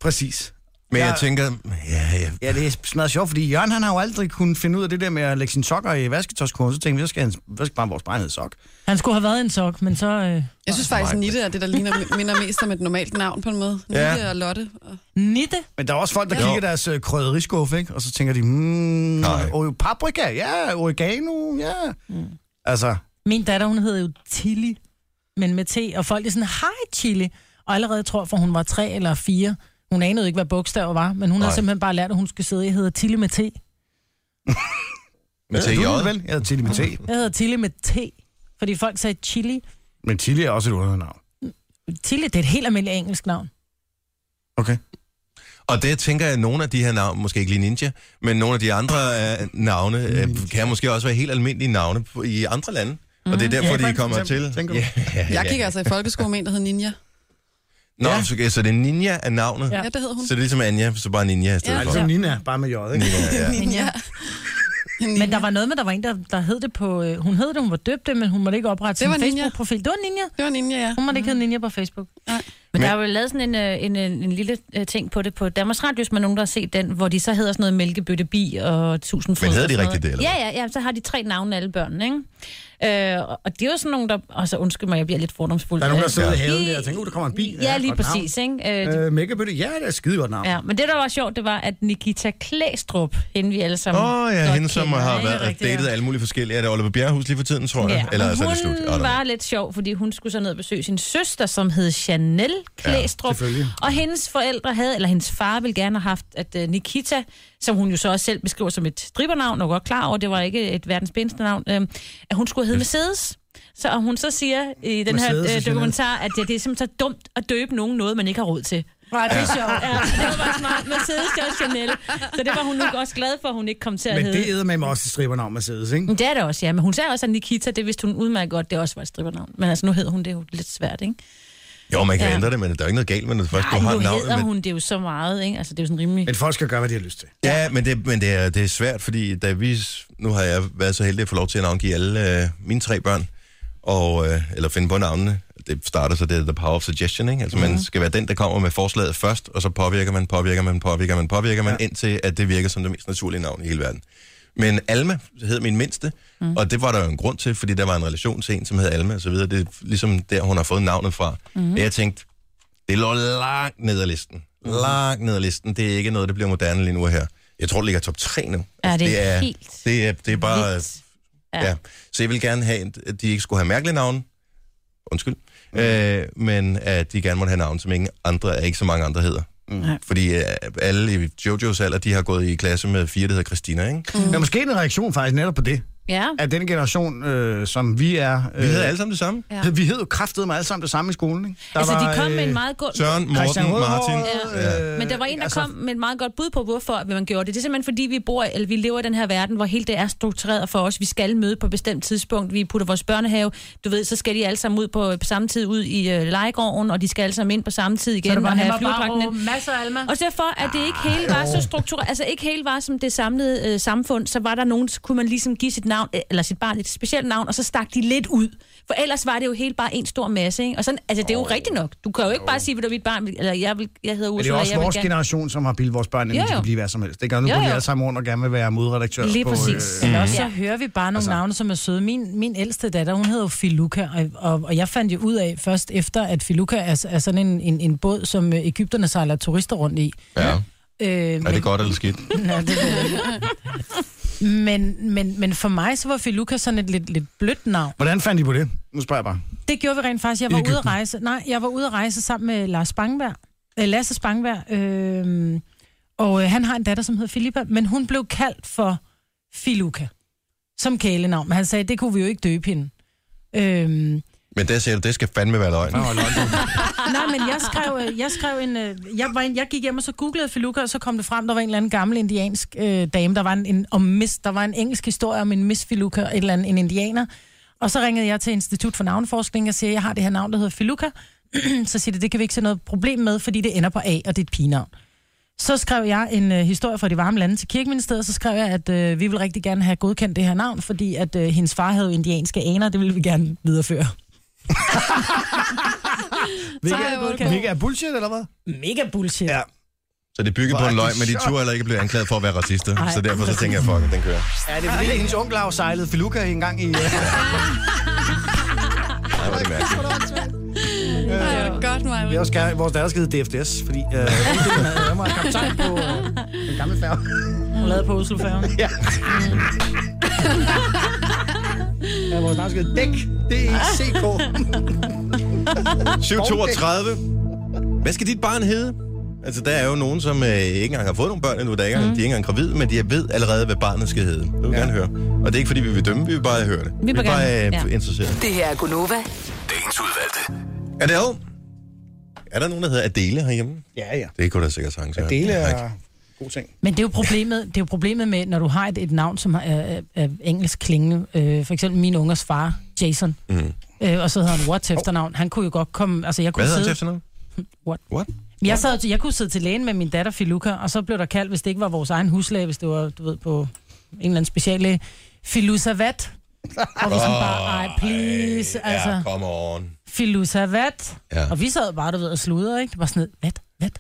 præcis. Men jeg Jeg- tænker, ja, ja, Ja, det er smadret sjovt, fordi Jørgen han har jo aldrig kunnet finde ud af det der med at lægge sine sokker i vasketøjskurven, så tænkte vi, så skal, han, så skal bare vores bare hedde sok. Han skulle have været en sok, men så... Øh, Jeg synes faktisk, at Nitte er det, der ligner, minder mest om et normalt navn på en måde. Ja. Nitte og Lotte. Og... nitte. Men der er også folk, der Ja. ja. kigger i deres øh, krødderiskuff, ikke? Og så tænker de, hmm, Nej. oh, paprika, ja, oregano, ja. Mm. Altså, Min datter, hun hedder jo Tilly, men med T, og folk er sådan, hej Tilly. Og allerede tror, for hun var tre eller fire. Hun anede ikke, hvad bogstaver var, men hun har Nej. simpelthen bare lært, at hun skulle sidde. Jeg hedder Tilly med T. med til du J. ved vel? Jeg hedder Tilly med T. Jeg hedder Tilly med T, fordi folk sagde Chili. Men Tilly er også et undernavn. Tilly, det er et helt almindeligt engelsk navn. Okay. Og det tænker jeg, at nogle af de her navne, måske ikke lige Ninja, men nogle af de andre øh, navne, øh, kan måske også være helt almindelige navne på, i andre lande. Og det er derfor, Ja, de for kommer eksempel, til. tænker du? Ja, ja, Jeg gik ja. altså i folkeskole med en, der hed Ninja. Nå, Ja. så, okay, så det er Ninja af navnet. Ja. Ja, det hed hun. Så det er ligesom Anja, så bare Ninja i stedet Ja, ja, for. Altså ja. Nina, bare med J, ikke? Ninja, ja. Ninja. Men der var noget med, der var en, der, der hed det på... Øh, hun hed det, hun var døbt det, men hun måtte ikke oprette Det sin var Ninja. Facebook-profil. Det var Ninja. Det var Ninja, ja. Hun måtte ikke hedde Ninja på Facebook. Men der er jo lavet sådan en, øh, en, en, en lille øh, ting på det på Danmarks Radio, hvis man er nogen, der har set den, hvor de så hedder sådan noget Mælkebøtte Bi og Tusindfryd. Men hedder og de sådan rigtigt det, noget. eller Ja, ja, ja, så har de tre navne alle børnene, ikke? Øh, og- og det er jo sådan nogen, der... Og så undskyld mig, jeg bliver lidt fordomsfuld. Der er nogen, der Øh, sidder i de- haven der og tænker, uh, der kommer en bil. Ja, lige godt navn. præcis, ikke? Øh, de- Øh, Mækkebøtte, ja, det er et skide godt navn. Ja. Ja, men det, der var sjovt, det var, at Nikita Klæstrup, hende vi alle sammen Åh oh, ja, godt hende som kender, har ikke? været rigtigt, ja. datet af alle mulige forskellige. Er det Oliver Bjerrehus lige for tiden, tror jeg? Ja, Ja. Eller altså, er det hun slut? I don't know. var lidt sjov, fordi hun skulle så ned og besøge sin søster, som hed Chanel Klæstrup. Ja, selvfølgelig. og hendes forældre havde, eller hendes far ville gerne have haft, at øh, Nikita, som hun jo så også selv beskriver som et stribernavn, og godt klar over, det var ikke et verdens pæneste navn, øh, at hun skulle hedde Mercedes. Så og hun så siger i den Mercedes her og øh, Chanel. dokumentar, at ja, det er simpelthen så dumt at døbe nogen noget, man ikke har råd til. Nej, det er sjovt. Ja, det var bare smart. Mercedes det var Chanel. Så det var hun nu også glad for, at hun ikke kom til at Men hedde. det er med mig også et stribernavn, Mercedes, ikke? Men Det er det også, ja. Men hun sagde også, at Nikita, det vidste hun udmærket godt, det også var et stribernavn. Men altså, nu hed hun det jo lidt svært, ikke? Jo, man kan ja. Ja. ændre det, men der er jo ikke noget galt med det. Først, Ej, du har nu navnet, hedder men... hun det jo så meget, ikke? Altså, det er jo sådan rimelig... Men folk skal gøre, hvad de har lyst til. Ja, men, det, men det, er, det er svært, fordi da vi, nu har jeg været så heldig at få lov til at navngive alle øh, mine tre børn, og, øh, eller finde på navnene. Det starter så det er The Power of Suggestion, ikke? Altså, mm. man skal være den, der kommer med forslaget først, og så påvirker man, påvirker man, påvirker man, påvirker man, ja. indtil at det virker som det mest naturlige navn i hele verden. Men Alma hed min mindste, mm. og det var der jo en grund til, fordi der var en relation til en, som hed Alma og så videre. Det er ligesom der, hun har fået navnet fra. Mm-hmm. Mm. Jeg tænkte, det lå langt ned ad listen. Mm-hmm. Langt ned ad listen. Det er ikke noget, der bliver moderne lige nu her. Jeg tror, det ligger top 3 nu. Ja, Altså, det er helt det er, det er bare... vildt. Ja. Ja. ja. Så jeg vil gerne have, at de ikke skulle have mærkelige navne. Undskyld. Mm. Øh, men at de gerne måtte have navne, som ingen andre, ikke så mange andre hedder. Mm. Nej. Fordi øh, alle i Jojos alder, de har gået i klasse med fire, der hedder Christina, ikke? Mm. Men måske en reaktion faktisk netop på det, Ja, at den generation, øh, som vi er... Øh, Vi hedder alle sammen det samme. ja. vi hed jo kraftedeme alle sammen det samme i skolen, ikke? Der altså, de var, kom med en øh, meget god... Søren, Christian Morten, Rødhåret, Martin. Ja. øh, Men der var en, der altså... kom med et meget godt bud på, hvorfor man gjorde det. Det er simpelthen, fordi vi bor, eller vi lever i den her verden, hvor hele det er struktureret for os. Vi skal møde på et bestemt tidspunkt. Vi putter vores børnehave. Du ved, så skal de alle sammen ud på, på samme tid ud i øh, legegården, og de skal alle sammen ind på samme tid igen Så det var og nemmere have bare flyverdragten at råbe, masser af Alma. Og derfor, at det ikke hele var Ah. så struktureret, altså ikke hele var som det samlede øh, samfund, så var der nogen, så kunne man ligesom give sit navn, øh, eller sit barn et specielt navn, og så stak de lidt ud. For ellers var det jo helt bare en stor masse, ikke? Og sådan, altså, det er jo rigtigt nok. Du kan jo ikke bare sige, ved du, mit barn, vil- eller jeg, vil, jeg hedder Men Ursula, det er jo også jeg vil vores gerne- generation, som har bildt vores børn, ind, Jo, at de jo. kan blive hvad som helst. Det gør nu, Jo, hvor vi jo. alle sammen rundt og gerne vil være moderredaktør Lige på... øh, præcis. Men også så Ja. hører vi bare nogle altså. navne, som er søde. Min, min ældste datter, hun hedder jo Filuka, og, og, og jeg fandt jo ud af først efter, at Filuka er, er sådan en, en, en båd, som øh, Ægypterne sejler turister rundt i. ja. Øh, Er men- det godt eller skidt? Nå, det ved jeg ikke. men, men, men for mig, så var Filuka sådan et lidt, lidt blødt navn. Hvordan fandt I på det? Nu spørger jeg bare. Det gjorde vi rent faktisk. Jeg var ude at rejse. Nej, jeg var ude at rejse sammen med Lars Spangberg. Øh, Lasse Spangberg. Øh, og øh, han har en datter, som hedder Filippa, men hun blev kaldt for Filuka. Som kælenavn. Men Han sagde, det kunne vi jo ikke døbe hende. Øhm, Men der siger du, det skal fandme være løgn. Nå, London. nej, men jeg skrev, øh, jeg skrev en, øh, jeg, var en, jeg gik hjem og så googlede Filuka, og så kom det frem, der var en eller anden gammel indiansk øh, dame, der var en, en, om miss, der var en engelsk historie om en miss Filuka, et eller andet, en indianer. Og så ringede jeg til Institut for Navneforskning og siger, jeg har det her navn, der hedder Filuka. så siger de, det kan vi ikke se noget problem med, fordi det ender på A, og det er et pigenavn. Så skrev jeg en øh, historie fra de varme lande til kirkeministeriet, så skrev jeg, at øh, vi vil rigtig gerne have godkendt det her navn, fordi at øh, hendes far havde jo indianske aner, det ville vi gerne videreføre. Ej, hvor er det Hvilket er bullshit, eller hvad? Mega bullshit. Ja. Så det bygger Hvor på er en de løgn, men de sjovt. turde heller ikke blive anklaget for at være racister. Ej, så derfor så præcis. tænker jeg, fuck, it, den kører. Er det fordi, hendes onkel har sejlet Feluca en gang i... øh, Ej, hvor er det mærkeligt. Ej, hvor godt, Maja. Vi har også gerne, vores datter skide DFDS, fordi øh, onkelen havde- han var kaptajn på øh, den gamle færge. Hun lavede på Oslo Færgen. Ja. ja, vores navn skide DÆK, E D-E-C-K. 732. Hvad skal dit barn hedde? Altså, der er jo nogen, som øh, ikke engang har fået nogle børn endnu, der er ikke, mm. de er ikke engang gravide, men de ved allerede, hvad barnet skal hedde. Det vil vi gerne høre. Og det er ikke, fordi vi vil dømme, vi vil bare høre det. Vi, er vil bare øh, gerne, ja. ja. interesseret. Det her er Gunova. Dagens udvalgte. Adele. Er der nogen, der hedder Adele herhjemme? Ja, ja. Det kunne da sikkert sagtens være. Dele Jeg har ikke- er god ting. Men det er jo problemet, det er jo problemet med, når du har et, et navn, som er, er, er engelsk klingende. Øh, for eksempel min ungers far, Jason. Mm. Øh, og så hedder han Watt til efternavn. Han kunne jo godt komme... Altså, jeg kunne Hvad hedder han sidde, til efternavn? What? What? Men Jeg, sad, jeg kunne sidde til lægen med min datter Filuka, og så blev der kaldt, hvis det ikke var vores egen huslæge, hvis det var, du ved, på en eller anden speciallæge, Filusavat. Og vi sådan bare, ej, please, Ej, altså, Ja, come on. Filusavat. Ja. Og vi sad bare, du ved, og sludrede, ikke? Det var sådan noget, vat, vat.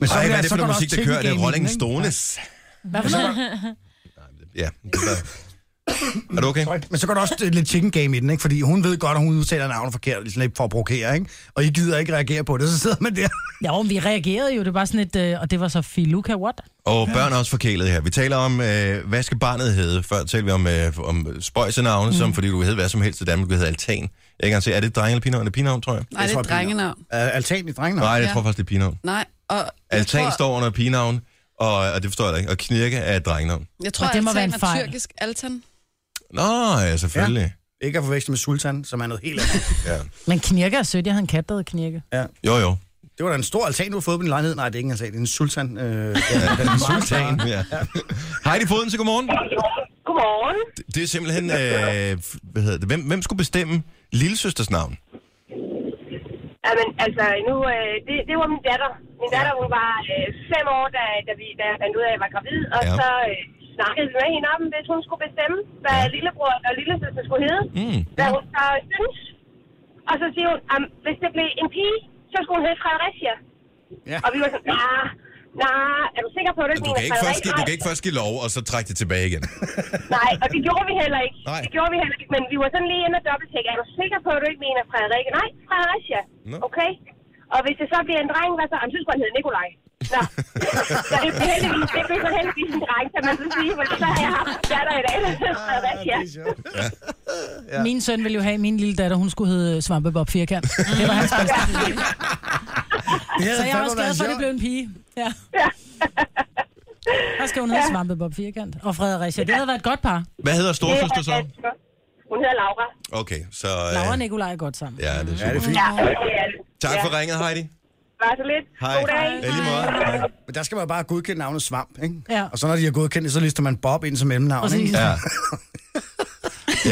Men Ej, hvad er det for så noget går musik, også der kører? Det teknik ind i er den, Rolling ikke? Stones. Hvad for noget? Ja. Er du okay? Sorry. Men så går der også øh, lidt chicken game i den, ikke? Fordi hun ved godt, at hun udtaler navnet forkert, ligesom lidt for at provokere, ikke? Og I gider ikke reagere på det, så sidder man der. Ja, og vi reagerede jo, det var sådan et, øh, og det var så Filuka, what? Og børn er også forkælet her. Vi taler om, øh, hvad skal barnet hedde? Før talte vi om, øh, om spøjsenavne, mm. som fordi du hed hvad som helst i Danmark, du hed altan. Jeg kan ikke engang se, er det drenge eller pigenavn? Er det pigenavn, tror jeg? Jeg Nej, det tror, er jeg et drengenavn. Uh, altan i drengene. Nej, jeg Ja. tror faktisk, det er pigenavn. Nej, og jeg Altan tror, står under pigenavn, og, og det forstår jeg da ikke. Og knirke er et drengenavn. jeg tror Og det må være altan en er fejl. tyrkisk altan. Nå, ja, selvfølgelig. Ikke at forveksle med sultan, som er noget helt andet. Ja. Ja. Men knirke er sødt, jeg havde en kat, der hed knirke. Jo, jo. Det var da en stor altan, du har fået på din lejlighed. Nej, det er ikke en altan, det er en sultan. Øh, ja, den er en sultan. Ja. Heidi Foden, så godmorgen. Godmorgen. Det- Det er simpelthen, øh, f- hvad hedder det? Hvem, hvem skulle bestemme lillesøsters navn? Jamen, altså, nu, øh, det, det var min datter. Min datter, hun var øh, fem år, da, da, vi, da jeg fandt ud af, at jeg var gravid, og Ja. ja. så øh, snakkede vi med hende om, hvis hun skulle bestemme, hvad ja. lillebror og lillesøster skulle hedde, Mm. mm. hvad hun så synes. Og så siger hun, at hvis det blev en pige, så skulle hun hedde Fredericia. Ja. Ja. Og vi var sådan, nej, nej, er du sikker på, at du Du ikke kan, mener ikke først, Fredericia? give- du kan ikke først give lov, og så trække det tilbage igen. Nej, og det gjorde vi heller ikke. Nej. Det gjorde vi heller ikke, men vi var sådan lige inde og dobbelttjekke. Er du sikker på, at du ikke mener Frederikke? Nej, Fredericia. Nå. Okay. Og hvis det så bliver en dreng, hvad så? Han synes, han hedder Nikolaj. Nå. så det blev heldigvis, det blev så heldigvis en dreng, kan man så sige. Men så har jeg haft en datter i dag, Ah, der hedder Fredericia. Ja. Min søn ville jo have min lille datter, hun skulle hedde Svampebob Firkant. Det var hans bedste. Så jeg er også glad for, at det blev en pige. Ja. Her skal hun hedde Svampebob Firkant og Fredericia. Det havde været et godt par. Hvad hedder storesøster Det er så? ganske godt. Hun hedder Laura. Okay, så... Laura og Øh, Nikolaj er godt sammen. ja, det er Ja, super. det er fint. Ja, det er det. Tak ja. for ringet, Heidi. Bare så lidt. Hej. God dag. Ja, lige måde. Men der skal man bare godkende navnet Svamp, ikke? Ja. Og så når de har godkendt det, så lister man Bob ind som mellemnavn, Præcis. ikke? Ja.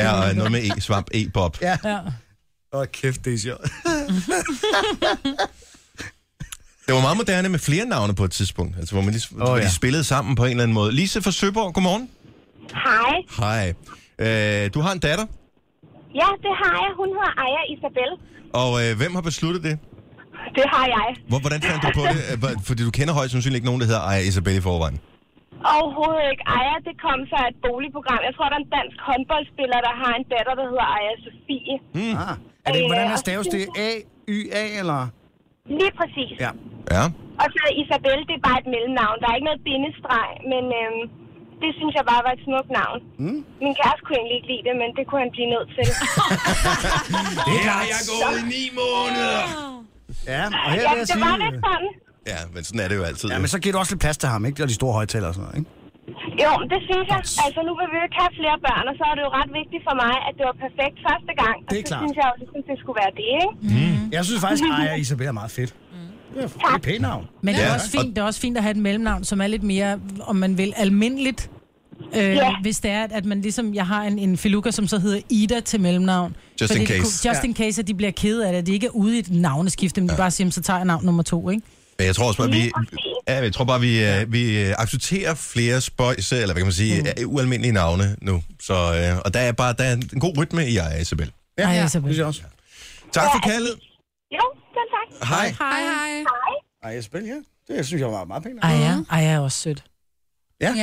Ja, og noget med e, svamp, e-bob. Ja. Ja. Åh, kæft, det er sjovt. Det var meget moderne med flere navne på et tidspunkt, altså, hvor, man lige, oh, Åh, hvor ja. de spillede sammen på en eller anden måde. Lise fra Søborg, godmorgen. Hej. Hej. Øh, du har en datter, Ja, det har jeg. Hun hedder Aya Isabel. og øh, hvem har besluttet det? Det har jeg. Hvor, hvordan fandt du på det? Øh, hvor- Fordi du kender højst sandsynligt ikke nogen, der hedder Aya Isabel i forvejen. Overhovedet ikke. Aya, det kom fra et boligprogram. Jeg tror, der er en dansk håndboldspiller, der har en datter, der hedder Aya Sofie. Ah. Er det, hvordan er staves det? A-Y-A, eller? Lige præcis. Ja. Ja. Og så Isabel, det er bare et mellemnavn. Der er ikke noget bindestreg, men øhm, det synes jeg bare var et smukt navn. Hmm. Mm. Min kæreste kunne egentlig ikke lide det, men det kunne han blive nødt til. Det er klart. gået i ni måneder! Ja, og her ja, vil jeg det var lidt sige... sådan. Ja, men sådan er det jo altid. Ja, men så giver du også lidt plads til ham, ikke? Og de store højtaler og sådan noget, ikke? Jo, men det synes jeg. Altså, nu vil vi jo ikke have flere børn, og så er det jo ret vigtigt for mig, at det var perfekt første gang. Det er og så klart. synes jeg jo, ligesom, det skulle være det, ikke? Jeg synes faktisk, Aya og Isabel er meget fedt. Det er- det er et pænt navn. Men det Ja, er, også og- fint, det er også fint at have et mellemnavn, som er lidt mere, om man vil, almindeligt. Øh, Ja. Hvis det er, at- at man ligesom, jeg har en, en filuka, som så hedder Ida til mellemnavn. Just Fordi in det case. kunne- Just in case, at de bliver ked af det, at de ikke er ude i et navneskifte, men ja. de bare siger, "Men så tager jeg navn nummer to, ikke? Men jeg tror også bare, vi, Lige præcis. ja, jeg tror bare, vi, øh, vi øh, accepterer flere spøjse, eller hvad kan man sige, mm. ualmindelige navne nu. Så, øh, og der er bare der er en god rytme i Aya Isabel. Ej, Ja, Isabel. synes jeg også. Tak for kaldet. Jo, selv tak. Hej. Hej, hej. Hej. Ej, Esbel, ja. Det synes jeg var meget pænt. Ej, ja. Mhm. Ej, jeg er også sødt. Ja.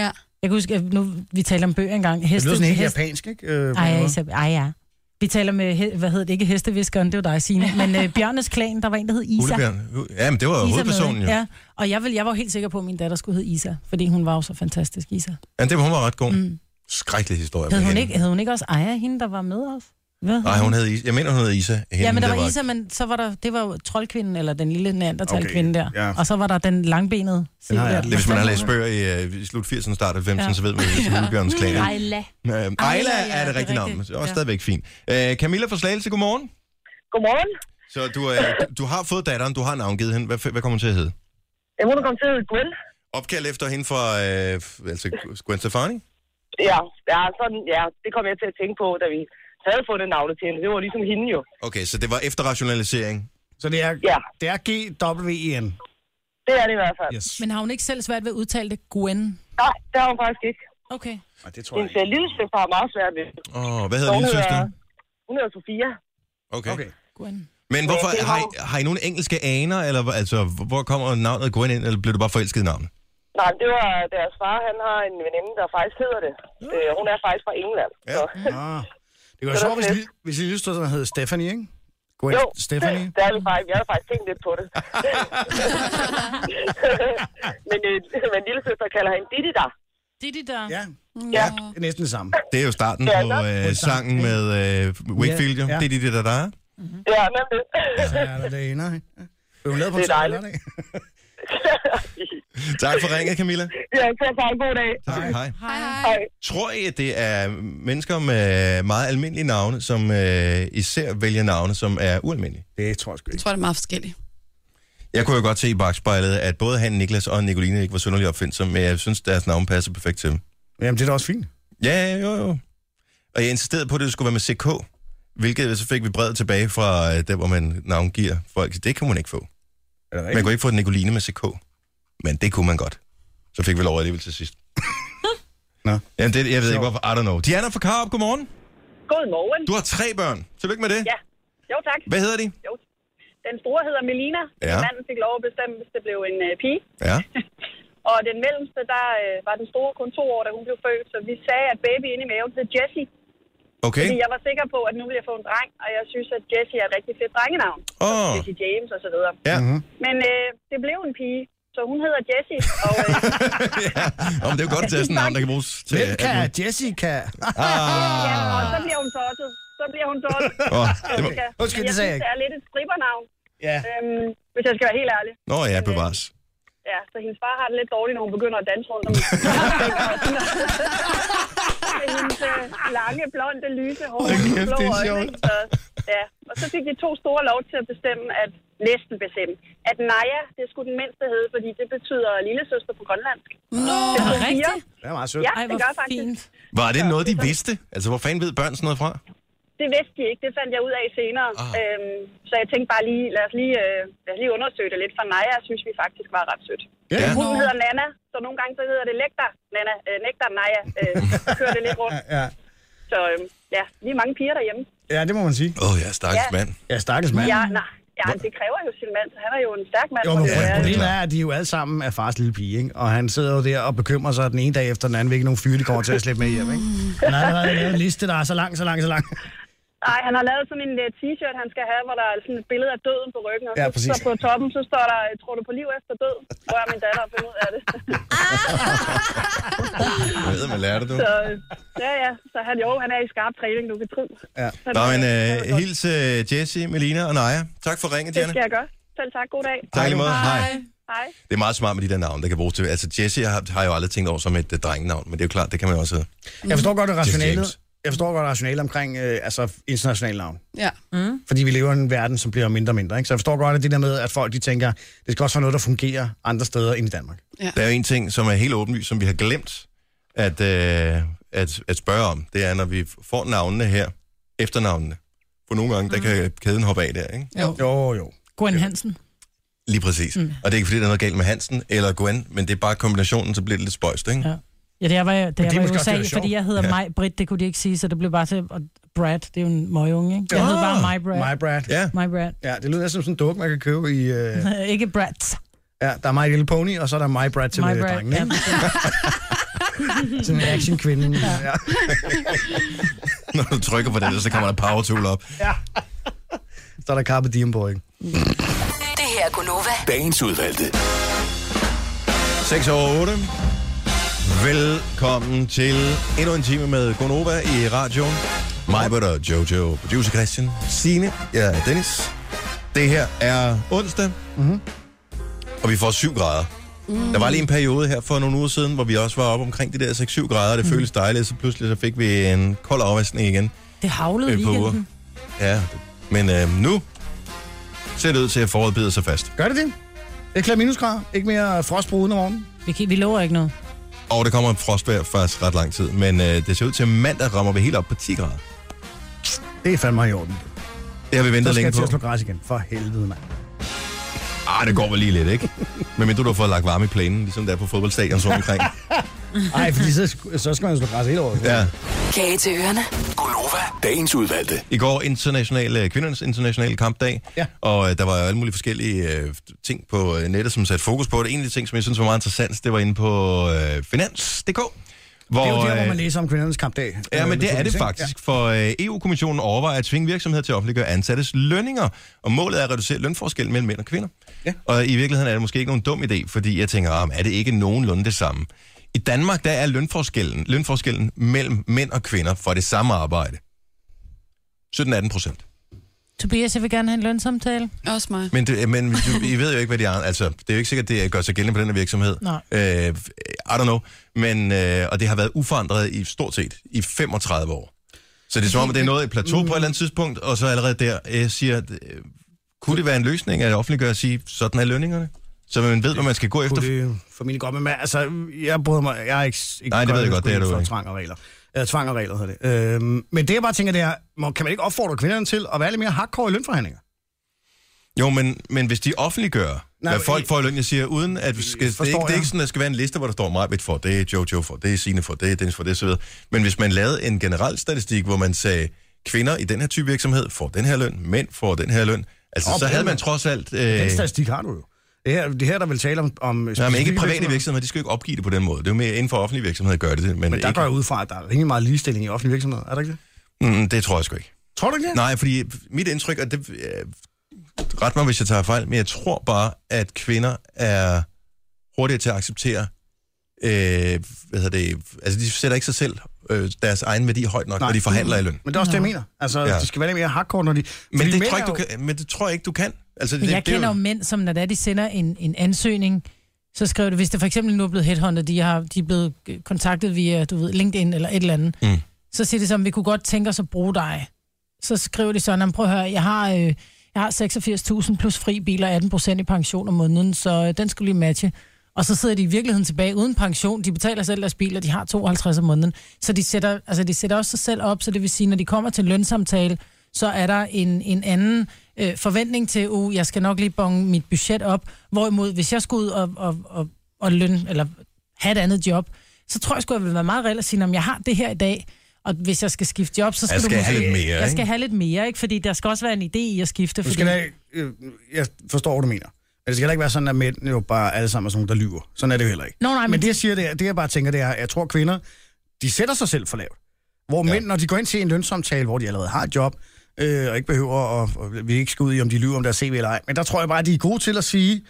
Jeg kan huske, at nu vi taler om bøger engang. Det lyder sådan helt hest- japansk, ikke? Øh, på en Ej, måde. Isab- ej, ja. Vi taler med, he- hvad hedder det, ikke hesteviskeren, det var dig, Signe, men øh, Bjørnes Klan, der var en, der hed Isa. Hulebjørn. Ja, men det var jo Isa hovedpersonen med, jo. ikke? Ja. Ja, og jeg, vil, jeg var jo helt sikker på, at min datter skulle hedde Isa, fordi hun var jo så fantastisk, Isa. ja det, hun var ret god. Mm. Skrækkelig historie. Havde med hun, hende. ikke, havde hun ikke også Aja, hende, der var med os? Hvad? hed Nej, hun hed Isa. Jeg mener, hun hed Isa. Hende, ja, men der var Isa, men så var der, det var jo troldkvinden, eller den lille neandertal Okay, kvinde der. ja. Og så var der den langbenede. Den har jeg Silvia. aldrig Det er, hvis man har læst bøger i, uh, i slut 80'erne, start 90'erne, ja. Ja. så ved man, at Hulebjørns klan. Ej, la. Øh, Ejla er det rigtige navn, men også Ja. stadigvæk fint. Øh, Camilla fra Slagelse, godmorgen. Godmorgen. Så du, øh, du, du har fået datteren, du har navngivet hende. Hvad, f- hvad kommer hun til at hedde? Jeg må komme til at hedde Gwen. Opkald efter hende fra øh, f- altså Gwen Stefani? Ja, ja, sådan, ja, det kom jeg til at tænke på, da vi havde fundet navnet til hende. Det var ligesom hende jo. Okay, så det var efterrationalisering. Så det er, Ja. det er G-W-E-N. Det er det i hvert fald. Yes. Men har hun ikke selv svært ved at udtale det? Gwen. Nej, det har hun faktisk ikke. Okay. Ej, det tror jeg Hendes ikke. øh, lille søster har meget svært ved. det. Åh, hvad hedder Hun lille søster? Hun hedder Sofia. Okay. okay. Okay. Gwen. Men hvorfor, Ja, det har, I, har har I nogle engelske aner, eller hvor- altså, hvor kommer navnet Gwen ind, eller blev du bare forelsket i navnet? Nej, det var øh, deres far. Han har en veninde, der faktisk hedder det. Øh, hun er faktisk fra England. Ja. Så. Ah. Det var sjovt, hvis, li- hvis I lyste, så hed Stephanie, ikke? Gwen Jo, Stephanie. det, der er vi faktisk, jeg har faktisk tænkt lidt på det. men, øh, men lille søster kalder hende Didi der. Det er det der. Ja, Ja. det er næsten det samme. Det er jo starten Ja, på øh, sangen med øh, Wakefield, jo. Ja, ja. Det er det, der der er. Ja, nemlig. Så er der det ene, ikke? Blev hun lavet på Det en er søndag, dejligt. eller ikke? Tak for ringet, Camilla. ja, så er en god dag. Tak, hej. Hej, hej. Hej. Tror I, at det er mennesker med meget almindelige navne, som øh, især vælger navne, som er ualmindelige? Det tror jeg sgu Jeg ikke. tror, det er meget forskelligt. Jeg kunne jo godt se i bagspejlet, at både han, Niklas og Nicoline ikke var synderligt opfindsomme, men jeg synes, deres navne passer perfekt til dem. Jamen, det er da også fint. Ja, jo, jo. Og jeg insisterede på, at det skulle være med CK, hvilket så fik vi brevet tilbage fra øh, der, hvor man navngiver folk. Det kunne man ikke få. Er det Man rigtigt? kunne ikke få Nicoline med CK, men det kunne man godt. Så fik vi lov alligevel til sidst. Nå. Jamen, det, jeg ved ikke, hvorfor. I don't know. Diana fra Karup, godmorgen. Godmorgen. Du har tre børn. Tillykke med det. Ja. Jo, tak. Hvad hedder de? Den store hedder Melina. Ja. Manden fik lov at bestemme, hvis det blev en øh, pige. Ja. Og den mellemste, der øh, var den store kun to år, da hun blev født. Så vi sagde, at baby inde i maven hed Jessie. Okay. Fordi jeg var sikker på, at nu ville jeg få en dreng. Og jeg synes, at Jessie er et rigtig fedt drengenavn. Åh, oh, Jessie James og så videre. ja. Mhm. Men øh, det blev en pige. Så hun hedder Jessie. Og øh, ja. Nå, men det er jo godt at tage sådan en navn, der kan bruges til... Hvem kan? Jessica. ja, Ah. og så bliver hun tosset. Så bliver hun tosset. Oh, det Jessica. var... Undskyld, det jeg sagde jeg synes, det er lidt et strippernavn. Ja. Øhm, hvis jeg skal være helt ærlig. Nå ja, bevares. Ja, så hendes far har det lidt dårligt, når hun begynder at danse rundt om hende. Med hendes øh, lange, blonde, lyse hår. Hold kæft, blå det er øjne, sjovt. ikke? Så, ja. Og så fik de to store lov til at bestemme, at næsten bestemme, at Naja, det skulle den mindste hedde, fordi det betyder lille søster på grønlandsk. Er Nå, det Sofia? rigtigt? Det er meget sødt. Ja, Ej, det hvor gør faktisk. fint. Var det noget, de vidste? Altså, hvor fanden ved børn sådan noget fra? Det vidste de ikke, det fandt jeg ud af senere. Ah. Øhm, så jeg tænkte bare lige, lad os lige, øh, lad os lige undersøge det lidt, for Naja synes vi faktisk var ret sødt. Ja. Hun hedder Nana, så nogle gange så hedder det Lægter, Nana, øh, Nægter, Naja, øh, kører det lidt rundt. Ja. Så øh, ja, vi er mange piger derhjemme. ja, det må man sige. Åh, oh, jeg er stakkels Ja. mand. Ja, stakkels mand. Ja, nej, ja, det kræver jo sin mand, så han er jo en stærk mand. Jo, for men det er- problemet er, at de jo alle sammen er fars lille pige, ikke? Og han sidder jo der og bekymrer sig den ene dag efter den anden, hvilke nogle fyre, de kommer til at slippe med hjem, ikke? Han har allerede lavet en liste, der er så lang, så lang, så lang. Nej, han har lavet sådan en uh, t-shirt, han skal have, hvor der er sådan et billede af døden på ryggen. Og Ja, ja, præcis. så, så på toppen, så står der, øh, tror du på liv efter død? Spørger min datter at finde ud af det. Jeg ved, man lærer det, du. så øh, ja, ja, så han, jo, han er i skarp træning, du kan tro. Ja. øh, Han, Nå, men han er uh, godt. hils uh, Jesse, Melina og Naja. Tak for ringet, Det Diana. skal jeg gøre. Selv tak, god dag. Tak i lige måde. Hej. Hej. Det er meget smart med de der navne, der kan bruges til. Altså, Jesse har, har jeg jo aldrig tænkt over som et uh, drengenavn, men det er jo klart, det kan man jo også hedde. Jeg forstår godt det rationale. James. Jeg forstår godt rationale omkring øh, altså internationale navn. Ja. Mm. Fordi vi lever i en verden, som bliver mindre og mindre. Ikke? Så jeg forstår godt at det der med, at folk de tænker, det skal også være noget, der fungerer andre steder end i Danmark. Der er jo en ting, som er helt åbenlyst, som vi har glemt at, øh, at, at spørge om. Det er, når vi får navnene her, efternavnene. For nogle gange, der kan kæden hoppe af der, ikke? Jo. Jo, jo. Gwen Hansen. Lige præcis. Mm. Og det er ikke, fordi der er noget galt med Hansen eller Gwen, men det er bare kombinationen, så bliver det lidt spøjst, ikke? Ja. Ja. Ja, det var jeg, da det er jeg var i måske også det, der er USA, sjovt. fordi jeg hedder Ja. ja. Maj Britt, det kunne de ikke sige, så det blev bare til og Brad, det er jo en møgunge, ikke? Jeg Ja. hedder bare Maj My Brad. Brad. ja. Maj Brad. Ja, det lyder næsten som sådan en dukke, man kan købe i... Øh... Ikke Brad. Ja, der er My Little Pony, og så er der My Brad til My My Brad, drengen. ja, ikke? Sådan en actionkvinde. Ja. Når du trykker på det, så kommer der power tool op. Så er der Carpe Diem Boy. Det her er Gunova. Dagens udvalgte. 6 over 8. Velkommen til endnu en time med Gonova i radioen. Mig, og Jojo, producer Christian, Signe, jeg er Dennis. Det her er onsdag, mm-hmm. og vi får 7 grader. Mm. Der var lige en periode her for nogle uger siden, hvor vi også var oppe omkring de der 6-7 grader, og det mm. føltes dejligt, så pludselig så fik vi en kold afvaskning igen. Det havlede øh, i på uger. weekenden. Ja, men øh, nu ser det ud til, at foråret bider sig fast. Gør det det? Ikke klar minusgrader? Ikke mere frostbrud om morgenen? Vi, kan, vi lover ikke noget. Og der kommer en frostvejr faktisk ret lang tid, men øh, det ser ud til, at mandag rammer vi helt op på 10 grader. Det er fandme i orden. Det har vi Så ventet skal længe jeg til på. at slå græs igen. For helvede, mand. Ah, det går vel lige lidt, ikke? Men mindre du har fået lagt varme i planen, ligesom der er på fodboldstadion rundt omkring. Ej, fordi så, så skal man jo slå græs hele året. Ja. Kage til ørerne. Gunova, dagens udvalgte. I går international, øh, kvindernes internationale kampdag, Ja. og øh, der var jo alle mulige forskellige øh, ting på øh, nettet, som satte fokus på det. En af de ting, som jeg synes var meget interessant, det var inde på øh, finans.dk. Hvor, Det er jo der, hvor øh, man læser om kvindernes kampdag. Ja, Øh, men det er det naturligvis, ikke? faktisk, for øh, EU-kommissionen overvejer at tvinge virksomheder til at offentliggøre ansattes lønninger, og målet er at reducere lønforskellen mellem mænd og kvinder. Ja. Og i virkeligheden er det måske ikke nogen dum idé, fordi jeg tænker, ah, men er det ikke nogenlunde det samme? I Danmark, der er lønforskellen, lønforskellen mellem mænd og kvinder for det samme arbejde. 17-18 procent. Tobias, jeg vil gerne have en lønsamtale. Også mig. Men, det, men du, I ved jo ikke, hvad de er. Altså, det er jo ikke sikkert, det gør sig gældende på den her virksomhed. Nej. Øh, I don't know. Men, øh, og det har været uforandret i stort set i 35 år. Så det er som om, at det er noget i plateau mm. på et eller andet tidspunkt, og så allerede der øh, siger, at, øh, kunne det være en løsning at offentliggøre og sige, sådan er lønningerne? Så man ved, hvad man skal gå efter. kunne det formentlig godt, men altså, jeg bryder mig, jeg er ikke... ikke Nej, det ved jeg godt, det er du for ikke. Tvang og regler. Øh, tvang og regler hedder det. Øhm, men det, jeg bare tænker, det er, må, kan man ikke opfordre kvinderne til at være lidt mere hardcore i lønforhandlinger? Jo, men, men hvis de offentliggør, Nej, Nej, hvad men folk I- får i løn, jeg siger, uden at... Vi skal, det, er Forstår ikke, det er jeg. ikke sådan, at der skal være en liste, hvor der står mig for, det er Jojo for, det er Signe for, det er Dennis for, det er så videre. Men hvis man lavede en generel statistik, hvor man sagde, kvinder i den her type virksomhed får den her løn, mænd får den her løn, altså Nå, så på havde den man måde. trods alt... Øh, Den statistik har du jo. Det her, det her der vil tale om... om Nej, men specifikke ikke private virksomheder, de skal jo ikke opgive det på den måde. Det er jo mere inden for offentlige virksomheder, gør det det. Men, Men der ikke, går jeg ud fra, at der er rimelig meget ligestilling i offentlige virksomheder. Er der ikke det? mm, det tror jeg sgu ikke. Tror du ikke det? Nej, fordi mit indtryk, og det, øh, ret mig, hvis jeg tager fejl, men jeg tror bare, at kvinder er hurtigere til at acceptere, øh, hvad hedder det, altså de sætter ikke sig selv, øh, deres egen værdi højt nok, Nej. Nej. når de forhandler i løn. Men det er også det, jeg mener. Altså, Ja. ja. det skal være lidt mere hardcore, når de... Men fordi det, mænd tror jeg er ikke, du kan, men det tror jeg ikke, du kan. Altså, Men det, jeg det, er kender jo jo, mænd, som når det er, de sender en, en ansøgning, så skriver det, hvis det for eksempel nu er blevet headhunted, de, har, de er blevet øh, kontaktet via du ved, LinkedIn eller et eller andet, Mm. så siger de som, vi kunne godt tænke os at bruge dig. Så skriver de sådan, "Jamen, prøv at høre, jeg har, øh, jeg har 86.000 plus fri bil og 18 procent i pension om måneden, så øh, den skulle lige matche. Og så sidder de i virkeligheden tilbage uden pension. De betaler selv deres bil, og de har 52 om måneden. Så de sætter, altså de sætter også sig selv op, så det vil sige, når de kommer til en lønsamtale, så er der en, en anden øh, forventning til, uh, jeg skal nok lige bonge mit budget op. Hvorimod, hvis jeg skulle ud og, og, og, og løn, eller have et andet job, så tror jeg sgu, jeg vil være meget reelt at sige, om jeg har det her i dag, og hvis jeg skal skifte job, så skal, Jeg skal du have lidt mere, jeg ikke? skal have lidt mere, ikke? Fordi der skal også være en idé i at skifte. Du Fordi... skal da, øh, jeg forstår, hvad du mener. Men det skal heller ikke være sådan, at mænd jo bare alle sammen er sådan nogle, der lyver. Sådan er det jo heller ikke. Nå, nej, men men det, jeg siger, det, er, det jeg bare tænker, det er, at jeg tror, kvinder, de sætter sig selv for lavt. Hvor mænd, når de går ind til en lønsamtale, hvor de allerede har et job, øh, og ikke behøver at, og vi ikke skal ud i, om de lyver om deres CV eller ej, men der tror jeg bare, at de er gode til at sige,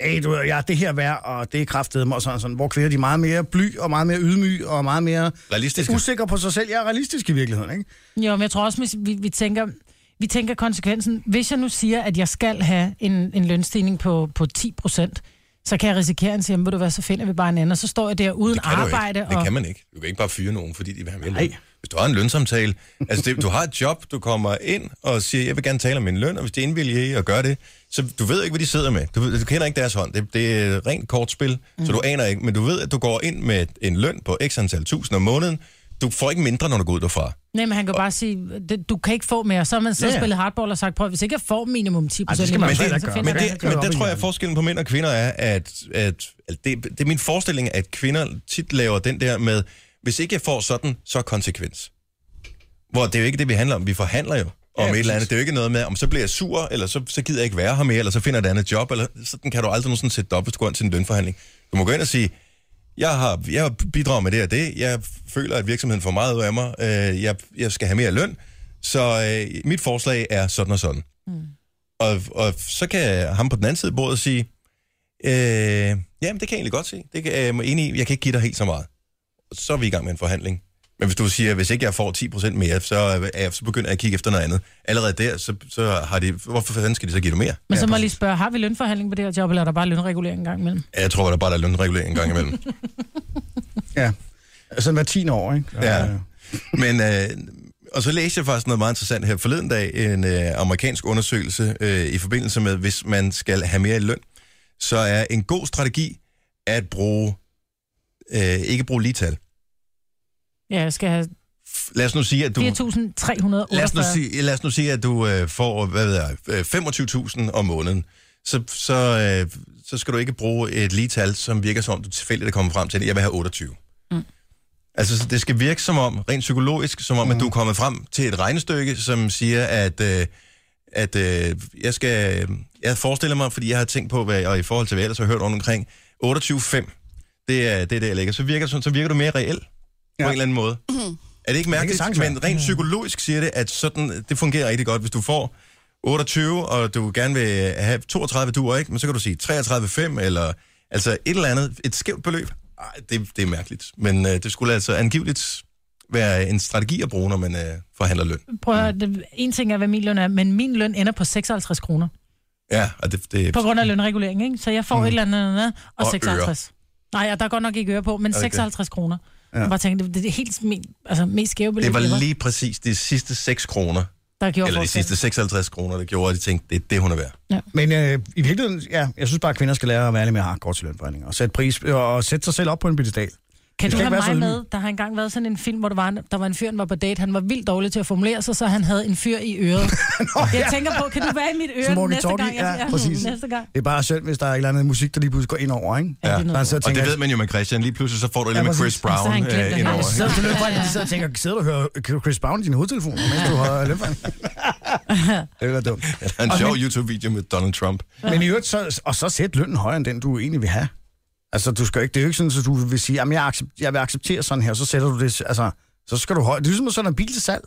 hey, du, ved, jeg er det her værd, og det er kraftedet mig, og sådan, og sådan, hvor kvinder de er meget mere bly, og meget mere ydmyge, og meget mere Realistiske. usikre på sig selv. Jeg er realistisk i virkeligheden, ikke? Jo, men jeg tror også, hvis vi, vi, tænker, vi tænker konsekvensen. Hvis jeg nu siger, at jeg skal have en, en lønstigning på, på 10 procent, så kan jeg risikere, at han siger, "Men ved du hvad, så finder vi bare en anden. Og så står jeg der uden det kan du arbejde. Ikke. Det og... kan man ikke. Du kan ikke bare fyre nogen, fordi de vil have mere løn. Nej. Hvis du har en lønsamtale, altså det, du har et job, du kommer ind og siger, jeg vil gerne tale om min løn, og hvis de indvilliger i at gøre det, så du ved ikke, hvad de sidder med. Du, ved- du kender ikke deres hånd. Det, det er rent kortspil, mm. så du aner ikke, men du ved, at du går ind med en løn på x antal tusind om måneden. Du får ikke mindre, når du går ud derfra. Nej, men han kan bare sige, "Det- du kan ikke få mere. Så har man så Ja, ja. spillet hardball og sagt, prøv, hvis ikke jeg får minimum 10 Ej, procent, det skal man Men, slet det, ikke gøre. men, Man kan det, ikke gøre men op der i tror jeg, at hinanden. forskellen på mænd og kvinder er, at, at, at det, det er min forestilling, at kvinder tit laver den der med, hvis ikke jeg får sådan, så er konsekvens. Hvor det er jo ikke det, vi handler om. Vi forhandler jo om Ja, et eller andet. præcis. Det er jo ikke noget med, om så bliver jeg sur, eller så, så gider jeg ikke være her mere, eller så finder jeg et andet job, eller sådan kan du aldrig nogensinde sætte dig op, hvis du går ind til en lønforhandling. Du må gå ind og sige, jeg har jeg bidrager med det og det, jeg føler, at virksomheden får meget ud af mig, øh, jeg, jeg skal have mere løn, så øh, mit forslag er sådan og sådan. Mm. Og, og så kan ham på den anden side af bordet sige, øh, jamen det kan jeg egentlig godt se, det kan, øh, jeg er enig i, jeg kan ikke give dig helt så meget. Så er vi i gang med en forhandling. Men hvis du siger, hvis ikke jeg får 10% mere, så, er jeg, så begynder jeg at kigge efter noget andet. Allerede der, så, så har de... Hvorfor fanden skal de så give dig mere? Men så må jeg lige spørge, har vi lønforhandling på det her job, eller er der bare lønregulering en gang imellem? Jeg tror, der bare der er lønregulering en gang imellem. Ja. Sådan hver 10 år, ikke? Ja. Men, øh, og så læste jeg faktisk noget meget interessant her forleden dag, en øh, amerikansk undersøgelse øh, i forbindelse med, hvis man skal have mere i løn, så er en god strategi at bruge, øh, ikke bruge ligetal. Ja, jeg skal have F- Lad os nu sige, at du... 4.348. Lad os, nu sige, lad os nu sige, at du øh, får hvad ved jeg, øh, 25.000 om måneden. Så, så, øh, så skal du ikke bruge et lige tal, som virker som om, du tilfældigt er kommet frem til det. Jeg vil have 28. Mm. Altså, så det skal virke som om, rent psykologisk, som om, mm. at du er kommet frem til et regnestykke, som siger, at, øh, at øh, jeg skal... Jeg forestiller mig, fordi jeg har tænkt på, hvad, og i forhold til, hvad jeg ellers har hørt rundt omkring, 28,5, det er det, er der jeg ligger. Så virker, sådan, så virker du mere reelt, ja. på en eller anden måde. Er det ikke mærkeligt? sagtens Det være. men rent psykologisk siger det, at sådan, det fungerer rigtig godt, hvis du får 28, og du gerne vil have 32 duer, ikke? Men så kan du sige 33,5, eller altså et eller andet, et skævt beløb. Ej, det, det er mærkeligt. Men øh, det skulle altså angiveligt være en strategi at bruge, når man øh, forhandler løn. Prøv at, høre, det, en ting er, hvad min løn er, men min løn ender på 56 kroner. Ja, og det, det På grund af lønregulering, ikke? Så jeg får mm. et eller andet, andet og, Og og 56. Øre. Nej, ja, der er godt nok ikke øre på, men det ikke det? 56 kroner. Ja. Jeg bare tænkte, det, det er helt min, altså, mest skæve beløb, det jeg var var, lige præcis de sidste 6 kroner, der gjorde eller de forskel. sidste 56 kroner, der gjorde, at de tænkte, det er det, hun er værd. Men øh, i virkeligheden, ja, jeg synes bare, at kvinder skal lære at være lidt mere hardcore til lønforhandlinger. Og sætte, pris, øh, og sætte sig selv op på en pedestal. Kan Det du skal have ikke være mig så med? Der har engang været sådan en film, hvor der var en, der var en fyr, der var på date. Han var vildt dårlig til at formulere sig, så han havde en fyr i øret. Nå, jeg ja. tænker på, kan du være i mit øre Som næste walkie-talkie, gang? ja, præcis. næste gang. Det er bare synd, hvis der er et eller andet musik, der lige pludselig går ind over, ikke? Ja, det er Man noget. sidder og Og tænker, det ved man jo med Christian. Lige pludselig så får du lidt Ja, med præcis. Chris Og så har Brown han øh, glemt at have indover. det. ikke? Så til lønforhandling, de sidder og tænker, sidder du og hører øh, Chris Brown i din hovedtelefon, mens du har lønforhandling? det er da dumt. Der er en sjov YouTube-video med Donald Trump. Men i øvrigt, så, og så sæt lønnen højere end den, du egentlig vil have. Altså, du skal ikke, det er jo ikke sådan, at du vil sige, jamen, jeg, accept, jeg vil acceptere sådan her, så sætter du det, altså, så skal du højere. Det er ligesom at sende en bil til salg.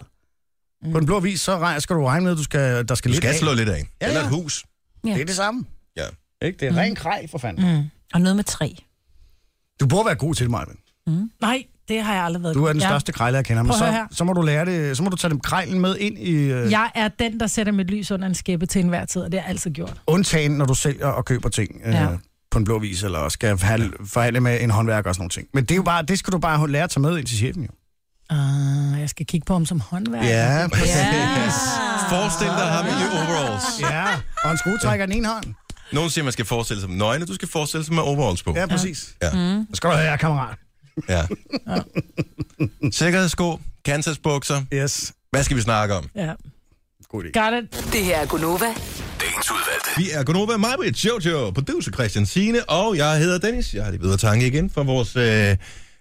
På den blå vis, så regner, skal du regne med, at du skal, der skal Du lidt skal af. slå lidt af. Ja, Eller ja. et hus. Det er det samme. Ja. Ikke? Det er ren grej, for fanden. Mm. Og noget med tre. Du burde være god til det, Marvin. Nej, det har jeg aldrig været. Du er den Ja. største krejler, jeg kender. Men Prøv at høre så, her. så, må du lære det, så må du tage dem krejlen med ind i øh, Jeg er den, der sætter mit lys under en skæppe til enhver tid, og det har jeg altid gjort. undtagen, når du sælger og køber ting. Øh, Ja. på en blå vis, eller skal forhandle, forhandle med en håndværker og sådan nogle ting. Men det, er jo bare, det skal du bare lære at tage med ind til chefen, jo. Ah, jeg skal kigge på ham som håndværker. Ja, præcis. Forestil dig ham Ah. i overalls. Ja, og en skruetrækker i den ene hånd. Nogen siger, man skal forestille sig med nøgne. Du skal forestille sig med overalls på. Ja, præcis. Ja. Mm. Skal du høre, kammerat? ja. Sikkerhedssko, Kansas bukser. Yes. Hvad skal vi snakke om? ja. God idé. Got it. Det her er Gunova. Dagens udvalgte. Vi er Gunova, Majbrit, Jojo, producer Christian Sine og jeg hedder Dennis. Jeg har lige videre tanke igen fra vores øh,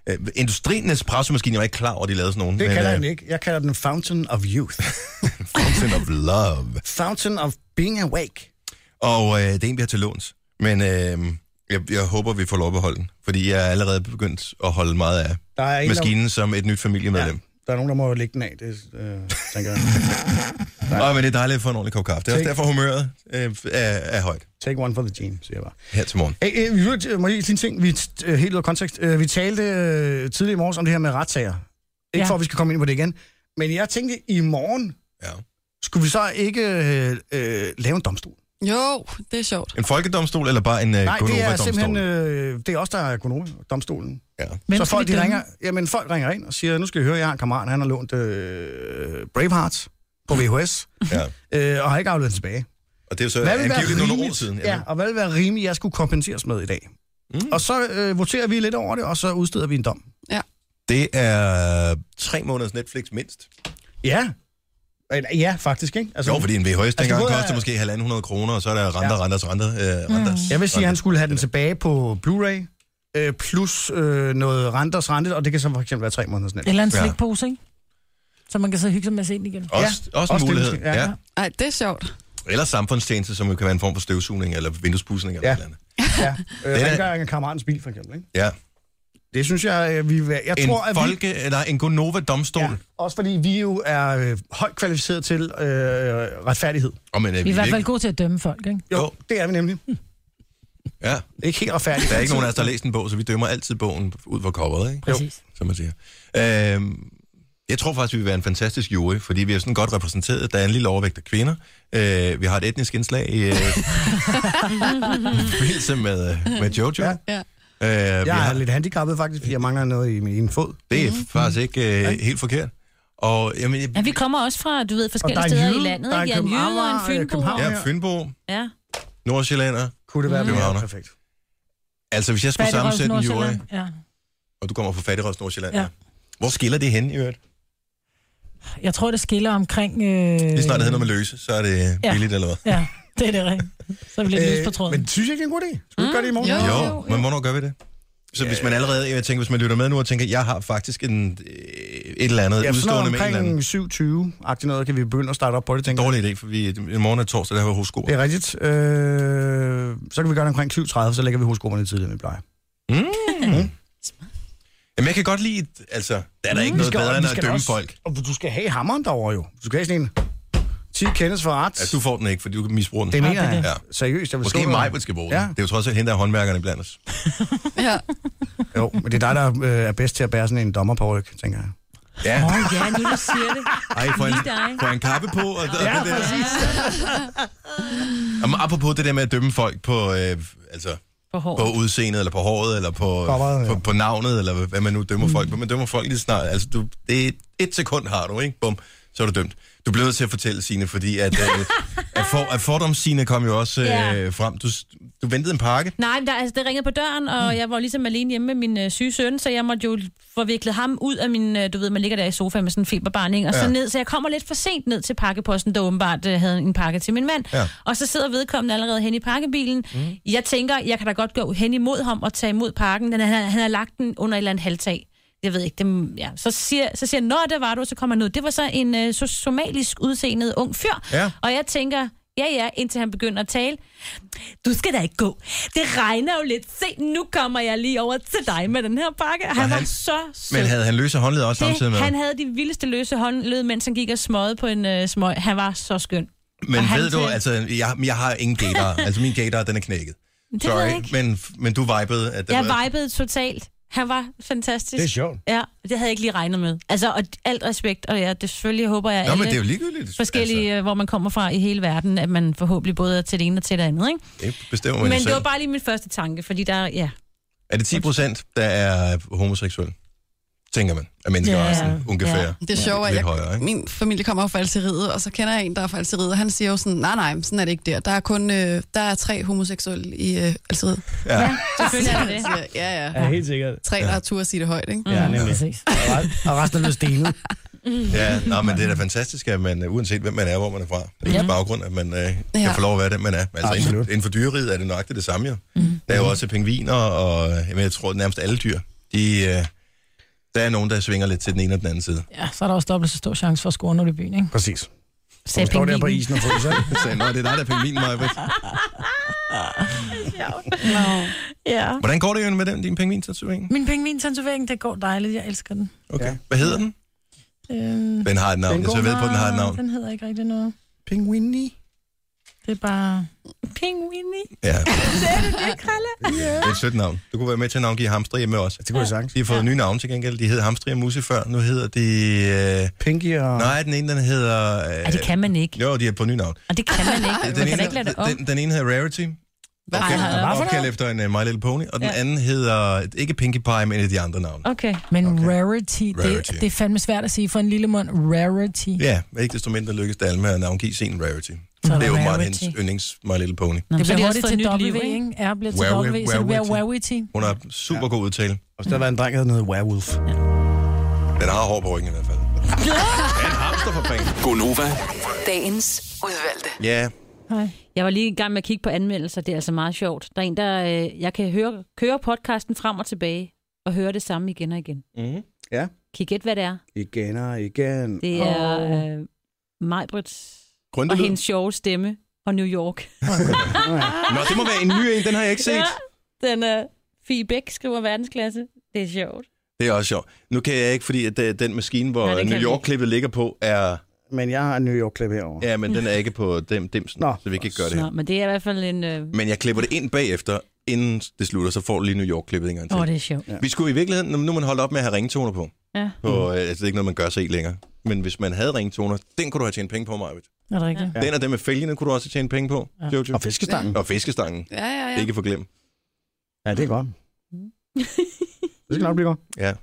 øh, industri Nespresso-maskine. Jeg var ikke klar over, at de lavede sådan nogle. Det kalder jeg den øh, ikke. Jeg kalder den Fountain of Youth. Fountain of Love. Fountain of Being Awake. Og øh, det er en, vi har til låns. Men øh, jeg, jeg håber, vi får lov at beholde den. Fordi jeg er allerede begyndt at holde meget af Der er en, maskinen som et nyt familiemedlem. Ja. Der, der er nogen, der må lægge den af, det øh, tænker jeg. Åh, men det er dejligt at få en ordentlig kop kaffe. Det er også Tænk. derfor, humøret øh, er, er højt Take one for the team, siger jeg bare. her til morgen. Hey, øh, i øvrigt, øh, må jeg lige sige en ting? Vi t- øh, helt ud af kontekst. Øh, vi talte øh, tidligere i morges om det her med retssager. Ikke ja. Ja. for, at vi skal komme ind på det igen. Men jeg tænkte, i morgen Ja. skulle vi så ikke øh, øh, lave en domstol? Jo, det er sjovt. En folkedomstol eller bare en øh, Nej, det er simpelthen Gonova-domstol? øh, det er os, der er økonomer, domstolen. Ja. Men så skal folk, vi de dømme? ringer, jamen, folk ringer ind og siger, nu skal I høre, jeg har en kammerat, han har lånt øh, Braveheart på VHS, ja. øh, og har ikke afleveret den tilbage. Og det er jo så Hvad vil være angiveligt nogle år rimeligt- siden. Ja, og hvad vil være rimeligt, jeg skulle kompenseres med i dag? Mm. Mm. Og så øh, voterer vi lidt over det, og så udsteder vi en dom. Det er øh, tre måneders Netflix mindst. Ja. Eller, Ja, faktisk, ikke? Altså, Jo, fordi en VHS dengang både er- koster måske 1.500 kroner, og så er der renter, Ja. Mm. renters, renter, øh, renters. Jeg vil sige, at han skulle have den tilbage på Blu-ray, øh, plus øh, noget renters rente, og det kan så for eksempel være tre måneders net. Eller en Ja. slikpose, ikke? så man kan så hygge sig med at se den igen. Også, ja, også, også en det mulighed. måske, Ja. ja. Ja. Ej, det er sjovt. Eller samfundstjeneste, som jo kan være en form for støvsugning eller vinduespudsning eller Ja. ja. noget andet. Ja. Øh, Den er- rengøring af kammeratens bil, for eksempel. Ikke? Ja. Det synes jeg, øh, vi... vil- Jeg En tror, at vi... folke, eller en Gonova-domstol. Ja, Ja. også fordi vi jo er øh, højt kvalificeret til øh, retfærdighed. Og men, øh, er Vi er i hvert fald ikke- gode til at dømme folk, ikke? Jo, Jo. det er vi nemlig. Ja. Ikke helt retfærdigt. Der er ikke nogen af os, der har læst en bog, så vi dømmer altid bogen ud fra coveret, ikke? Præcis. som man siger. Øhm, jeg tror faktisk, vi vil være en fantastisk jury, fordi vi er sådan godt repræsenteret. Der er en lille overvægt af kvinder. Øh, vi har et etnisk indslag i øh, forbindelse med, øh, med Jojo. Ja. Ja. Øh, vi Jeg er har, lidt handicappet faktisk, fordi jeg mangler noget i min ene fod. det er faktisk ikke øh, helt forkert. Og jamen, jeg, Ja, vi kommer også fra, du ved, Og forskellige der er steder jyde, i landet. der er ikke? Jeg er en jyde og en københavner, fynbo. københavn. jeg er Fynbo, Ja. Nordsjællander. Kunne det være Mm. mere Københavner. perfekt? Altså, hvis jeg skulle Fattigrøv, sammensætte en jury, Nordsjælland. Ja. og du kommer fra Fattigrøs Nordsjælland, Ja. ja. hvor skiller det hen i øvrigt? Jeg tror, det skiller omkring... Øh... Lige snart det hedder noget med løse, så er det Ja. billigt eller hvad? Ja, det er det rigtigt. Så er vi lidt øh, løs på tråden. men synes jeg ikke, det er en god idé? Skal vi ikke gøre det i morgen? Jo. Jo, jo, men hvornår gør vi det? Så hvis man allerede, jeg tænker, hvis man lytter med nu og tænker, jeg har faktisk en, øh, et eller andet Ja, sådan noget udstående med en eller anden. omkring 7.20-agtig noget, kan vi begynde at starte op på det, tænker jeg. Dårlig idé, for vi, i morgen er torsdag, der har vi hosko. Det er rigtigt. Øh, så kan vi gøre det omkring 7.30, så lægger vi husgrupperne tidligere, end vi plejer. Jamen, jeg kan godt lide, altså, der er der ikke Mm, Vi noget skal- bedre vi end at skal dømme også- folk. Og du skal have hammeren derovre jo. Du skal have sådan en 10 kendes for ret. Altså, du får den ikke, fordi du kan misbruge den. Det mener det er jeg. det. Ja. Seriøst, jeg vil Måske slå dig. mig, der skal bruge Ja. den. Det er jo trods alt hende, der er håndværkerne blandt os. Ja. Jo, men det er dig, der øh, er bedst til at bære sådan en dommerpåryk, tænker jeg. Ja, Åh, ja. ja, nu du siger det. ej, får en, Lige dig. får en kappe på. Og, og ja, det der. præcis. Jamen, apropos det der med at dømme folk på, øh, altså, På hår. på udseendet, eller på håret, eller på, Coveret, ja. på, på navnet, eller hvad man nu dømmer mm. folk. Men man dømmer folk lige snart. Altså, du, det er et sekund har du, ikke? Bum, så er du dømt. Du bliver nødt til at fortælle, Signe, fordi at, øh, at, for, at fordomssine kom jo også Ja. øh, frem. Du, du ventede en pakke. Nej, men der, altså, det ringede på døren, og mm. jeg var ligesom alene hjemme med min øh, syge søn, så jeg måtte jo få viklet ham ud af min, øh, du ved, man ligger der i sofaen med sådan en feberbarn, ikke? og så Ja. ned, så jeg kommer lidt for sent ned til pakkeposten, der åbenbart øh, havde en pakke til min mand, Ja. og så sidder vedkommende allerede hen i pakkebilen. Mm. Jeg tænker, jeg kan da godt gå hen imod ham og tage imod pakken, den, han, han har lagt den under et eller andet halvtag. Jeg ved ikke, det, ja. så, siger, så siger jeg, når det var du, så kommer han ud. Det var så en øh, so- somalisk udseende ung fyr, Ja. og jeg tænker, ja ja, indtil han begynder at tale. Du skal da ikke gå. Det regner jo lidt. Se, nu kommer jeg lige over til dig med den her pakke. Han, Og han var han- så sød. Men havde han løse håndled også samtidig det, med? han havde de vildeste løse håndled, mens han gik og smøgede på en øh, smøg. Han var så skøn. Men og han ved du, til- altså, jeg, jeg har ingen gator. altså, min gator, den er knækket. Det ved jeg Sorry, ikke. men, men du vibede. At det Jeg var, vibede totalt. Han var fantastisk. Det er sjovt. Ja, det havde jeg ikke lige regnet med. Altså, og alt respekt, og ja, det selvfølgelig håber jeg, Nå, alle men det er jo ligegyldigt. forskellige, altså. hvor man kommer fra i hele verden, at man forhåbentlig både er til det ene og til det andet, ikke? Altså, det bestemmer man Men men det selv. var bare lige min første tanke, fordi der, ja, Er det 10 procent, der er homoseksuelle? Tænker man, at mennesker Ja. er sådan ungefær. Ja. Det er sjovt, at Lidt jeg, højere, ikke? min familie kommer fra falseriet, og så kender jeg en, der er fra Algeriet, og han siger jo sådan, nej, nej, men sådan er det ikke der. Der er kun øh, der er tre homoseksuelle i øh, Algeriet. selvfølgelig er det det. Ja, Mm. ja. Ja, helt sikkert. Tre, der har tur at sige det højt, ikke? Ja, nemlig. Præcis. Og resten er blevet stenet. Ja, nå, men det er da fantastisk, at man, øh, uanset hvem man er, hvor man er fra, det er ja. baggrund, at man øh, kan Ja. få lov at være den, man er. Altså, inden, for- Absolut. inden for dyreriet er det nøjagtigt det samme, jo. Mm. Der er jo også pingviner, og øh, jamen, jeg tror nærmest alle dyr, de, øh, der er nogen, der svinger lidt til den ene og den anden side. Ja, så er der også dobbelt så stor chance for at score, når du er i byen, ikke? Præcis. Så Sagde står der på pingvinen. isen og fryser. ikke? Så, nå, det er dig, der er pingvin, Maja. Ja. Hvordan går det jo med den, din pingvin-tatovering? Min pingvin-tatovering, det går dejligt. Jeg elsker den. Okay. Ja. Ja. Hvad hedder den? Øh, Den har et navn. Jeg så ved på, at den har et navn. Den hedder ikke rigtig noget. Pingvini. Det er bare... Pingvini. Ja. det er det, det er et sødt navn. Du kunne være med til at navngive hamster hjemme også. Det kunne jeg sagtens. De har fået ja. nye navne til gengæld. De hed Hamstri og Musse før. Nu hedder de... Øh... Pinky og... Nej, den ene, den hedder... Øh... Ja, det kan man ikke. Jo, de er på nye navn. Og det kan man ikke. Man Den kan ene, da ikke lade det om. den, den ene hedder Rarity, Hvad Ej, for- ej, ej. opkaldt efter en uh, My Little Pony, og den Ja. anden hedder ikke Pinkie Pie, men et af de andre navne. Okay. Men okay. rarity, Rarity. Det, det er fandme svært at sige for en lille mund. Rarity. Yeah. Ja, men ikke desto mindre lykkes det alle med at navngive sin Rarity. Så Det er er der åbenbart Rarity. hendes yndlings My Little Pony. Nå, Det så har de bliver også hurtigt fået til nyt liv, W, ikke? ikke? R bliver til Warwi- W, så det bliver Warwity. rarity. Hun har super god udtale. Og så har der været en dreng, der hedder Werewolf. Den har hår på ryggen i hvert fald. Ja, en hamster for fanden. Gonova, Dagens udvalgte. Ja, Jeg var lige i gang med at kigge på anmeldelser. Det er altså meget sjovt. Der er en, der... Mhm. Øh, jeg kan høre, køre podcasten frem og tilbage og høre det samme igen og igen. Ja. Kan I gætte, hvad det er? Igen og igen. Det er øh, Majbrits og Grøntelyd. hendes sjove stemme og New York. Nå, det må være en ny en, den har jeg ikke set. Den er... Fie Bæk skriver verdensklasse. Det er sjovt. Det er også sjovt. Nu kan jeg ikke, fordi at øh, den maskine, hvor Nej, det Nej, kan New vi York-klippet ligger på, er... Men jeg har en New York-klip herovre. Ja, men den er ikke på dem, dimsen, Nå. så vi kan ikke gøre det Mm. Nå, her. men det er i hvert fald en... Åh, øh... Men jeg klipper det ind bagefter, inden det slutter, så får du lige New York-klippet en gang til. oh, det er sjovt. Vi skulle i virkeligheden, nu nu er man holdt op med at have ringtoner på. Ja. på mm. altså, det er ikke noget, man gør sig i længere. Men hvis man havde ringtoner, den kunne du have tjent penge på, Marvitt. Er det rigtigt? Ja. Den og den med fælgene kunne du også tjene penge på, ja. Jojo. Og fiskestangen. Og fiskestangen. Ja. Ja, ja, Det ja. er ikke for glem. Ja, det er godt. Det skal nok blive godt. Ja.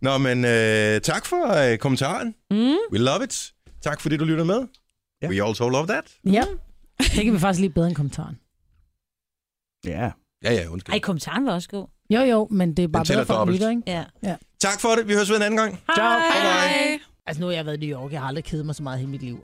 Nå, men øh, tak for øh, kommentaren. Mm. We love it. Tak fordi du lytter med. Ja. We also love that. Ja. Mm. Det kan vi faktisk lige bedre end kommentaren. Ja. Ja, ja, undskyld. Ej, kommentaren var også god. Jo, jo, men det er bare Den tæller bedre for at dobbelt. lytte, ikke? Ja. Tak for det. Vi høres ved en anden gang. Ciao. Hej. Hej. Altså, nu har jeg været i New York. Jeg har aldrig kedet mig så meget i hele mit liv.